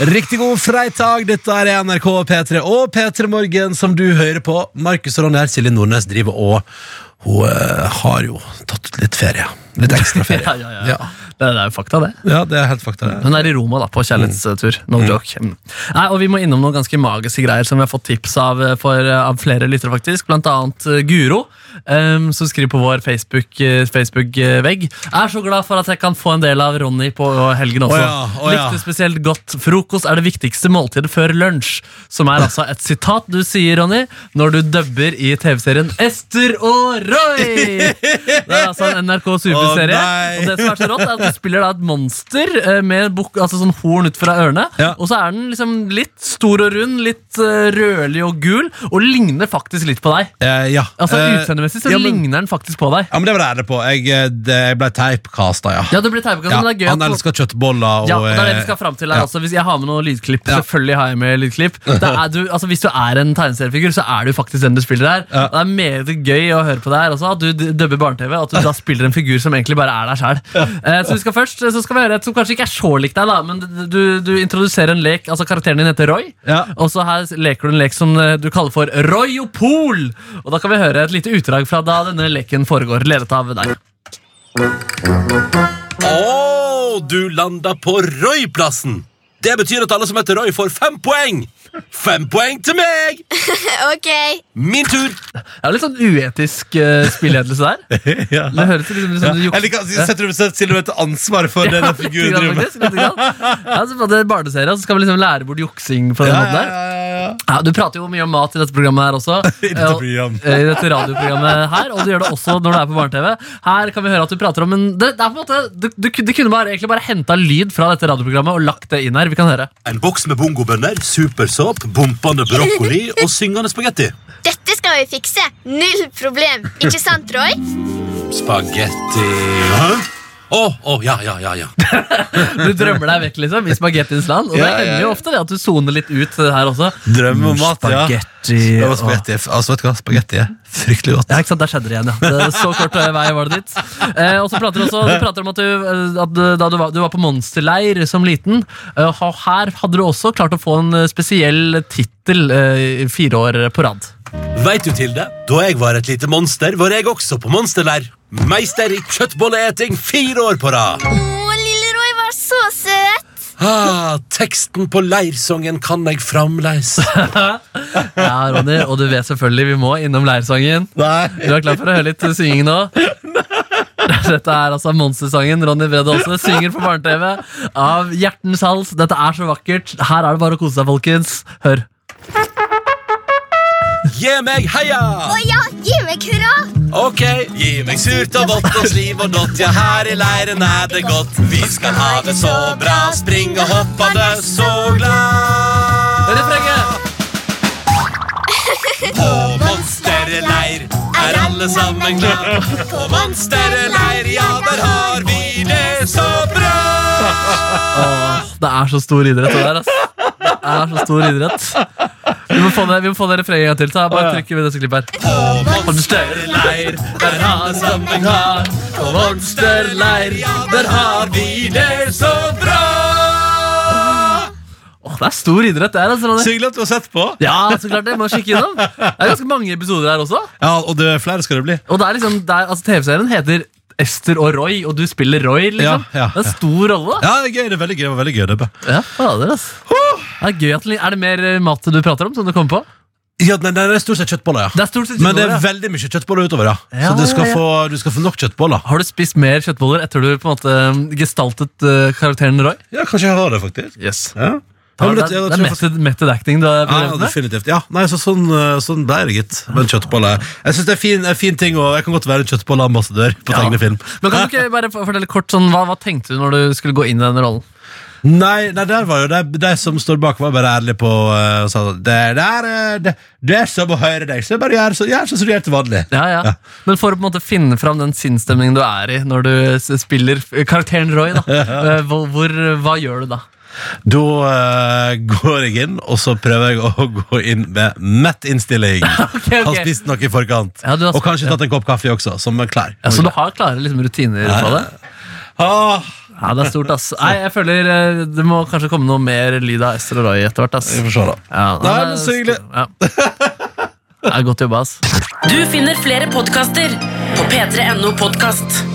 [SPEAKER 2] Riktig god freitag, dette er NRK P3 og P3 Morgen som du hører på. Markus og Ronny her, Silje Nordnes driver og hun eh, har jo tatt ut litt ferie. Litt ekstra ferie.
[SPEAKER 3] (laughs) Ja, ja, ja. Det, det er jo fakta, det.
[SPEAKER 2] Ja, det er helt fakta det.
[SPEAKER 3] Hun er i Roma da, på kjærlighetstur. No joke. Mm. Nei, og Vi må innom noen ganske magiske greier som vi har fått tips av, eh, for, eh, av flere lyttere. faktisk. Blant annet eh, Guro, em, som skriver på vår Facebook-vegg. er så glad for at jeg kan få en del av Ronny på eh, helgen også.
[SPEAKER 2] Å ja, å ja.
[SPEAKER 3] Likte spesielt godt. Frokost er det viktigste måltidet før lunsj. Som er altså et sitat du sier, Ronny, når du dubber i TV-serien Ester og Roy! Det er altså en NRK superserie.
[SPEAKER 2] Å, nei.
[SPEAKER 3] og det som er så rått, er at du spiller da et monster eh, med bok, altså sånn horn ut fra ørene.
[SPEAKER 2] Ja.
[SPEAKER 3] Og så er den liksom litt stor og rund, litt eh, rødlig og gul, og ligner faktisk litt på deg.
[SPEAKER 2] Eh, ja.
[SPEAKER 3] Altså
[SPEAKER 2] Eh,
[SPEAKER 3] Utseendemessig så
[SPEAKER 2] ja, men,
[SPEAKER 3] ligner den faktisk på deg.
[SPEAKER 2] ja, men det var det jeg ærlig på. Jeg, eh, det, jeg ble teipkasta, ja.
[SPEAKER 3] Ja, du blir teipekast, men det er gøy
[SPEAKER 2] han
[SPEAKER 3] at
[SPEAKER 2] elsker kjøttboller og
[SPEAKER 3] Ja, og det er det
[SPEAKER 2] eh,
[SPEAKER 3] vi skal fram til her
[SPEAKER 2] ja.
[SPEAKER 3] også. Hvis jeg har med noen lydklipp,
[SPEAKER 2] Ja.
[SPEAKER 3] selvfølgelig har jeg med lydklipp. Da er du, altså, hvis du er en tegneseriefigur, så er du faktisk den du spiller her.
[SPEAKER 2] Ja.
[SPEAKER 3] Og Det er meget gøy å høre på det her også, at du d- dubber barne-TV, og at du da spiller en figur som egentlig bare er deg sjæl. Eh, så vi skal først så skal vi høre et som kanskje ikke er så lik deg, da, men d- du, du introduserer en lek. altså Karakteren din heter Roy,
[SPEAKER 2] Ja.
[SPEAKER 3] og så her leker du en lek som eh, du kaller for Royopol. Og da kan vi høre et lite utdrag fra da denne leken foregår, ledet av deg.
[SPEAKER 2] Å, du landa på Roy-plassen! Det betyr at alle som heter Roy, får fem poeng! Fem poeng til meg!
[SPEAKER 4] Ok.
[SPEAKER 2] Min tur!
[SPEAKER 3] Det er litt sånn uetisk uh, spilledelse der.
[SPEAKER 2] (laughs) ja.
[SPEAKER 3] Det høres litt ut som
[SPEAKER 2] Ja.
[SPEAKER 3] du jukser.
[SPEAKER 2] Jeg liker, at- setter du setter Silje et ansvar for
[SPEAKER 3] (laughs)
[SPEAKER 2] det den
[SPEAKER 3] Litt
[SPEAKER 2] figuren
[SPEAKER 3] grann,
[SPEAKER 2] driver med.
[SPEAKER 3] faktisk, litt grann. Ja, så på det er barneserie, så skal vi liksom lære bort juksing på den måten der. Ja, du prater jo mye om mat i dette programmet her også.
[SPEAKER 2] (laughs) I dette programmet.
[SPEAKER 3] eh, I dette radioprogrammet her, og du gjør det også når du er på barne-TV. Her kan vi høre at du prater om en Det, det er på en måte Du, du, kunne- du kunne bare, egentlig bare henta lyd fra dette radioprogrammet og lagt det inn her. Vi kan høre.
[SPEAKER 13] En boks med bongobønner, supersopp, bompende brokkoli og syngende spagetti.
[SPEAKER 4] Dette skal vi fikse. Null problem. Ikke sant, Roy?
[SPEAKER 13] Spagetti Hæ?
[SPEAKER 4] Å, å, ja, ja, ja, ja.
[SPEAKER 3] Du drømmer deg vekk liksom, i spagettiens land. Og
[SPEAKER 2] Ja,
[SPEAKER 3] det
[SPEAKER 2] ja,
[SPEAKER 3] hender jo ofte det at du soner litt ut her også.
[SPEAKER 2] Drøm om at ja.
[SPEAKER 3] Spagetti
[SPEAKER 2] Det var
[SPEAKER 3] og-
[SPEAKER 2] spagetti. Altså, vet du hva? Spagetti er fryktelig godt.
[SPEAKER 3] Ja, ikke sant, Der skjedde det igjen, ja. Det- Så kort eh, vei var det dit. Eh, og så prater du også du prater om at du, eh, at du- da du, var, du var på monsterleir som liten. Eh, og her hadde du også klart å få en eh, spesiell tittel eh, fire år på rad.
[SPEAKER 4] Veit du, Tilde, da jeg var et lite monster, var jeg også på monsterleir. Meister i kjøttbolleeting fire år på rad.
[SPEAKER 14] Å, lille Roy var så søt!
[SPEAKER 4] Ah, teksten på leirsongen kan jeg framleis.
[SPEAKER 3] Ja, Ronny, Og du vet selvfølgelig vi må innom leirsangen.
[SPEAKER 2] Nei.
[SPEAKER 3] Du er klar for å høre litt synging nå? Dette er altså monstersangen Ronny Brede Aase synger på barne-TV av hjertens hals. Dette er så vakkert. Her er det bare å kose seg, folkens. Hør.
[SPEAKER 4] Gi meg heia!
[SPEAKER 14] Å ja, gi meg hurra!
[SPEAKER 4] Ok, gi meg surt og vått og sliv og dott, ja, her i leiren er det godt. Vi skal ha det så bra, spring og hoppende så glad.
[SPEAKER 3] Refrenget!
[SPEAKER 4] På monsterleir er alle sammen glad. På monsterleir, ja, der har vi det så bra.
[SPEAKER 3] Åh, det er så stor idrett, det der. ass. Det er så stor idrett. Vi må få det, vi må få det refrenget en gang til. Ta. Bare trykk ved dette klippet her.
[SPEAKER 4] Monsterleir, der alle sammen har På monsterleir, der har vi det så bra
[SPEAKER 3] Åh, det er stor idrett, det her, ass, Ronny.
[SPEAKER 2] Så hyggelig at du har sett på.
[SPEAKER 3] Ja, så klart det. Må kikke innom. Det er ganske mange episoder her også.
[SPEAKER 2] Ja, Og det er flere skal det bli.
[SPEAKER 3] Og det er liksom, det er, altså TV-serien heter Ester og Roy, og du spiller Roy, liksom.
[SPEAKER 2] Ja, ja,
[SPEAKER 3] det er en stor rolle. da.
[SPEAKER 2] Ja, det er gøy. Det er veldig gøy. Det var veldig gøy det er bra.
[SPEAKER 3] Ja, fader, ass. Det er, gøy at, er det mer eh, mat du prater om, som du kommer på?
[SPEAKER 2] Ja, nei, nei, det er stort sett kjøttboller, ja.
[SPEAKER 3] Det er stort sett
[SPEAKER 2] (laughs) Men det er
[SPEAKER 3] kjøttboller, ja.
[SPEAKER 2] veldig mye kjøttboller utover, ja.
[SPEAKER 3] Ja,
[SPEAKER 2] Så du skal,
[SPEAKER 3] ja, ja.
[SPEAKER 2] Få, du skal få nok kjøttboller.
[SPEAKER 3] Har du spist mer kjøttboller etter du på en måte eh, gestaltet eh, karakteren Roy?
[SPEAKER 2] Ja, kanskje jeg har det, faktisk.
[SPEAKER 3] Yes.
[SPEAKER 2] Ja.
[SPEAKER 3] Det
[SPEAKER 2] men
[SPEAKER 3] er,
[SPEAKER 2] det-
[SPEAKER 3] det
[SPEAKER 2] jeg
[SPEAKER 3] er
[SPEAKER 2] tror jeg
[SPEAKER 3] method, method acting du har
[SPEAKER 2] Ja,
[SPEAKER 3] bedrevet med.
[SPEAKER 2] definitivt. Ja, nei, så sånn, eh, sånn ble det, gitt. Men kjøttboller Jeg syns det er fin, en fin ting, og jeg kan godt være en kjøttbolleambassadør på
[SPEAKER 3] Ja.
[SPEAKER 2] tegnefilm.
[SPEAKER 3] Men kan du ikke bare for- fortelle kort sånn, hva, hva tenkte du når du skulle gå inn i den rollen?
[SPEAKER 2] Nei, nei, der var jo de, de som står bak, var bare ærlige på eh, og sa sånn, det, der, eh, det, det er som å høre deg, så bare gjør så- gjør sånn som du gjør til vanlig.
[SPEAKER 3] Ja, ja.
[SPEAKER 2] Ja.
[SPEAKER 3] Men for å på en måte finne fram den sinnsstemningen du er i når du s- spiller f- karakteren Roy,
[SPEAKER 2] (laughs)
[SPEAKER 3] da. Eh, Hvor, hvor, hva gjør du da?
[SPEAKER 2] Da eh, går jeg inn, og så prøver jeg å (laughs) gå inn med mett innstilling.
[SPEAKER 3] (laughs) ok.
[SPEAKER 2] Har spist noe i forkant.
[SPEAKER 3] Ja, du
[SPEAKER 2] og
[SPEAKER 3] har spist,
[SPEAKER 2] kanskje tatt en kopp kaffe også, som er klar.
[SPEAKER 3] Ja, så du har klare liksom, rutiner på det?
[SPEAKER 2] Ah,
[SPEAKER 3] Ja, det er stort,
[SPEAKER 2] (laughs)
[SPEAKER 3] ass. Nei, jeg føler eh, det må kanskje komme noe mer lyd av Ester og Roy etter hvert, ass.
[SPEAKER 2] vi får se, da.
[SPEAKER 3] Ja,
[SPEAKER 2] Nei,
[SPEAKER 3] det er
[SPEAKER 2] men så hyggelig.
[SPEAKER 3] stort. Ja. Det er godt jobba, ass.
[SPEAKER 15] Du finner flere podkaster på p3.no podkast.